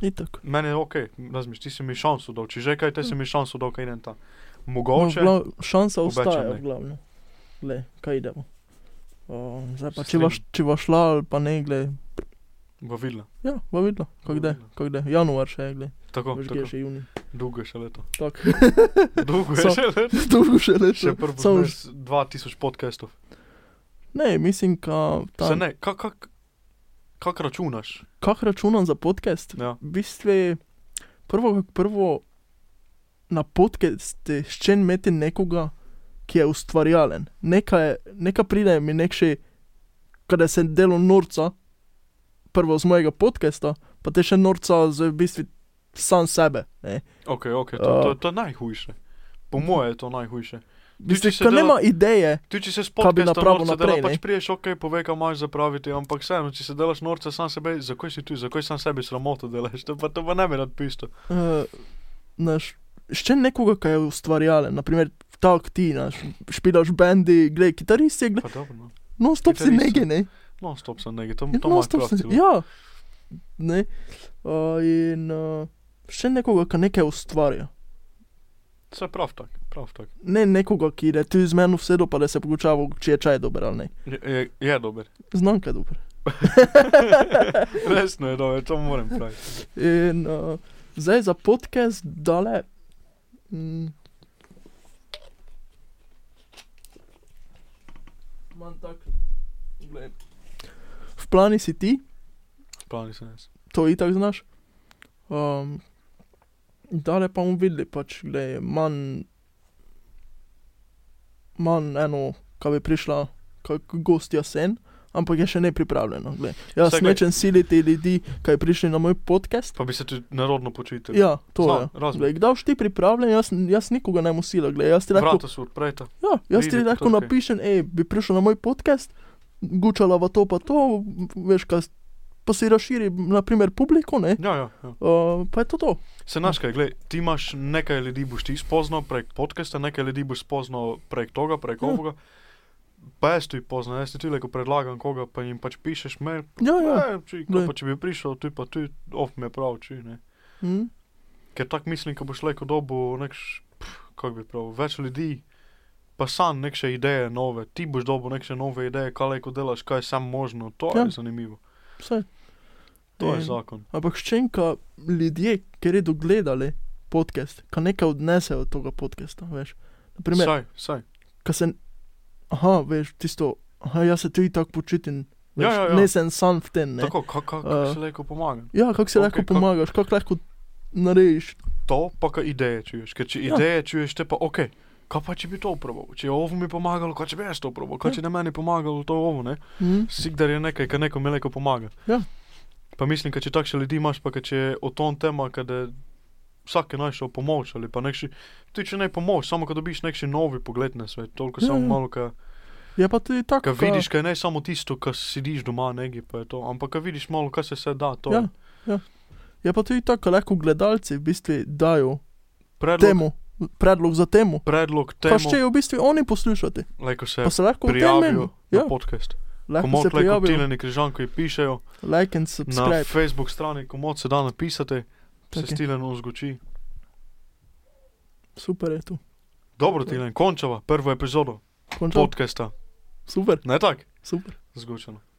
[SPEAKER 2] Itak.
[SPEAKER 1] Mene je ok, razmišljaj, ti si mi šanso dal, če že kaj, te si mi šanso dal, kaj idem ta.
[SPEAKER 2] No,
[SPEAKER 1] Mogoče,
[SPEAKER 2] glav, šansa
[SPEAKER 1] Obeče,
[SPEAKER 2] ostaja,
[SPEAKER 1] ne.
[SPEAKER 2] v glavnem. Le, kaj idemo. O, zdaj pa, če
[SPEAKER 1] Strinjam.
[SPEAKER 2] boš, če boš šla ali pa ne, gled.
[SPEAKER 1] bo videla.
[SPEAKER 2] Ja, bo vidno, kako gre,
[SPEAKER 1] vidno.
[SPEAKER 2] kako gre. Januar še je, gled.
[SPEAKER 1] Tako,
[SPEAKER 2] Veš, kje je
[SPEAKER 1] tako.
[SPEAKER 2] še junij.
[SPEAKER 1] Dolgo je še leto.
[SPEAKER 2] Tako,
[SPEAKER 1] Dolgo je
[SPEAKER 2] So-
[SPEAKER 1] še leto.
[SPEAKER 2] dolgo še leto.
[SPEAKER 1] Še prvo
[SPEAKER 2] Samo
[SPEAKER 1] znaš 2000 podcastov.
[SPEAKER 2] Ne, mislim, ka,
[SPEAKER 1] Se
[SPEAKER 2] tam,
[SPEAKER 1] ne, kak, kak, kak računaš?
[SPEAKER 2] kak računam za podcast?
[SPEAKER 1] Ja.
[SPEAKER 2] V bistvu je prvo, kot prvo na podcaste še imeti nekoga, ki je ustvarjalen. Neka, je, neka pride mi nek še, kada sem delo norca, prvo z mojega podcasta, pa te še norca z v bistvu sam sebe. Ne?
[SPEAKER 1] Ok, ok, to,
[SPEAKER 2] Uh.
[SPEAKER 1] to, to je najhujše. Po moje je to najhujše.
[SPEAKER 2] Bistvo,
[SPEAKER 1] če se
[SPEAKER 2] ko
[SPEAKER 1] dela-
[SPEAKER 2] nema ideje,
[SPEAKER 1] Ti, če se
[SPEAKER 2] Kaj bi
[SPEAKER 1] spomniš, da
[SPEAKER 2] napravil
[SPEAKER 1] norca dela,
[SPEAKER 2] naprej, ne?
[SPEAKER 1] pač priješ, ok, pove, kaj imaš zapraviti, ampak vseeno, če se delaš norca sam sebe, zakaj si tu, zakaj sam sebi sramoto delaš, to pa, to pa ne bi rad pisal.
[SPEAKER 2] uh, naš, še nekoga, ki je ustvarjalen, naprimer tak ti, naš, špilaš bendi, gled, kitarist je, gled,
[SPEAKER 1] Pa dobro, no.
[SPEAKER 2] no stop si
[SPEAKER 1] Kitarist.
[SPEAKER 2] nekaj, ne.
[SPEAKER 1] No, stop sem nekaj, to,
[SPEAKER 2] Ja,
[SPEAKER 1] to
[SPEAKER 2] no,
[SPEAKER 1] imaš
[SPEAKER 2] stop
[SPEAKER 1] prav.
[SPEAKER 2] sem-
[SPEAKER 1] celo.
[SPEAKER 2] Ja, ne. Uh, in uh, še nekoga, ki nekaj ustvarja.
[SPEAKER 1] Vse prav tak, prav tak.
[SPEAKER 2] Ne nekoga, ki je tu iz meni vse do, pa da se pogučava, če je čaj dober ali ne.
[SPEAKER 1] Je, je, je dober.
[SPEAKER 2] Znam, kaj je dober.
[SPEAKER 1] Resno je dober, to moram praviti.
[SPEAKER 2] In uh, zdaj za podcast dale. Mm. Imam tak. Glej. V plani si ti,
[SPEAKER 1] Pravi se jaz.
[SPEAKER 2] to itak znaš. Um, dale pa bomo videli, pač, glej, manj, manj eno, kaj bi prišla, kak gostja sen, ampak je še ne pripravljeno. Glej. Jaz
[SPEAKER 1] Saj, glej.
[SPEAKER 2] nečem siliti ljudi, kaj prišli na moj podcast.
[SPEAKER 1] Pa bi se tudi narodno počutil.
[SPEAKER 2] Ja, to je.
[SPEAKER 1] Razumem.
[SPEAKER 2] Glej, kdaj boš ti pripravljen, jaz, jaz nikoga ne musila, glej, jaz ti lahko,
[SPEAKER 1] Vrata so odprta.
[SPEAKER 2] ja, jaz ti
[SPEAKER 1] pridi, to je
[SPEAKER 2] lahko
[SPEAKER 1] okej.
[SPEAKER 2] napišem, hej, bi prišel na moj podcast, gučala v to pa to, veš, kaj, pa si razširi, naprimer, publiko, ne,
[SPEAKER 1] Ja, ja, ja.
[SPEAKER 2] uh, pa je to to.
[SPEAKER 1] Se znaš kaj, gled, ti imaš nekaj ljudi, boš ti spoznal prek podcasta, nekaj ljudi boš spoznal prek toga, prek
[SPEAKER 2] Ja.
[SPEAKER 1] ovoga. Pa jaz ti poznam, jaz ti tudi lahko predlagam koga, pa jim pač pišeš mail.
[SPEAKER 2] Ja, ja.
[SPEAKER 1] Ja, če,
[SPEAKER 2] glej.
[SPEAKER 1] pa če bi prišel, ti pa ti, of mi je prav, či ne.
[SPEAKER 2] Mm,
[SPEAKER 1] Ker tako mislim, ko boš leko dobo nekš, pf, kako bi prav, več ljudi, pa sam nekše ideje nove, ti boš dobo nekše nove ideje, kaj leko delaš, kaj je sam možno, to ja.
[SPEAKER 2] Ja.
[SPEAKER 1] je zanimivo,
[SPEAKER 2] vse.
[SPEAKER 1] to je
[SPEAKER 2] In-
[SPEAKER 1] zakon.
[SPEAKER 2] Ampak ščenka ljudje, ker je dogledali podcast, ka nekaj odnesejo od tega podcasta, veš. Naprimer,
[SPEAKER 1] Saj, saj.
[SPEAKER 2] ka se, aha, veš, tisto, aha, jaz se tudi tako počutim, veš,
[SPEAKER 1] Ja, ja, ja.
[SPEAKER 2] ne sem sam v tem, ne.
[SPEAKER 1] Tako, kako
[SPEAKER 2] Eh.
[SPEAKER 1] uh, se lahko pomaga.
[SPEAKER 2] Ja, kako si
[SPEAKER 1] Okej,
[SPEAKER 2] okay, lahko
[SPEAKER 1] kako-
[SPEAKER 2] pomagaš, kako lahko narediš.
[SPEAKER 1] To pa, kar ideje čuješ, ker če
[SPEAKER 2] Ja.
[SPEAKER 1] ideje čuješ, te pa ok, Kaj pa če bi to probal, če je ovo mi pomagalo, kaj če bi jaz to probal,
[SPEAKER 2] Ja.
[SPEAKER 1] kaj če ne meni pomagalo to ovo, ne?
[SPEAKER 2] Mhm.
[SPEAKER 1] Sigdar je nekaj, kar nekomu neko pomaga.
[SPEAKER 2] Ja.
[SPEAKER 1] Pa mislim, da če takšne ljudi imaš, pa ka če je o tom tema, da vsak je našel pomoč ali pa nekši, ti če ne pomoč, samo ko dobiš nekši novi pogled na svet, toliko
[SPEAKER 2] Ja,
[SPEAKER 1] samo
[SPEAKER 2] ja.
[SPEAKER 1] malo, ka,
[SPEAKER 2] Je pa tudi tako.
[SPEAKER 1] ka vidiš, ka je ne samo tisto, ka sediš doma negi, pa je to, ampak ka vidiš malo, ka se se da, to
[SPEAKER 2] Ja,
[SPEAKER 1] je
[SPEAKER 2] Je pa tudi tako, lahko gledalci v bistvu dajo
[SPEAKER 1] predlog,
[SPEAKER 2] temu, predlog za temo.
[SPEAKER 1] predlog
[SPEAKER 2] Pa
[SPEAKER 1] temu,
[SPEAKER 2] še jo v bistvu oni poslušati.
[SPEAKER 1] lajko se
[SPEAKER 2] Pa se lahko o tem meni.
[SPEAKER 1] prijavijo na
[SPEAKER 2] Ja,
[SPEAKER 1] podcast.
[SPEAKER 2] lahko se
[SPEAKER 1] Komod, lajko
[SPEAKER 2] prijavijo.
[SPEAKER 1] Tileni Križanko pišejo
[SPEAKER 2] Like and
[SPEAKER 1] na
[SPEAKER 2] subscribe.
[SPEAKER 1] Facebook strani, komod se da napisati, se
[SPEAKER 2] Tako je.
[SPEAKER 1] Stileno zgoči.
[SPEAKER 2] Super je to.
[SPEAKER 1] Dobro, Tilen, končava prvo epizodo
[SPEAKER 2] Končal.
[SPEAKER 1] podcasta.
[SPEAKER 2] Super,
[SPEAKER 1] Ne tak?
[SPEAKER 2] super.
[SPEAKER 1] Zgočeno.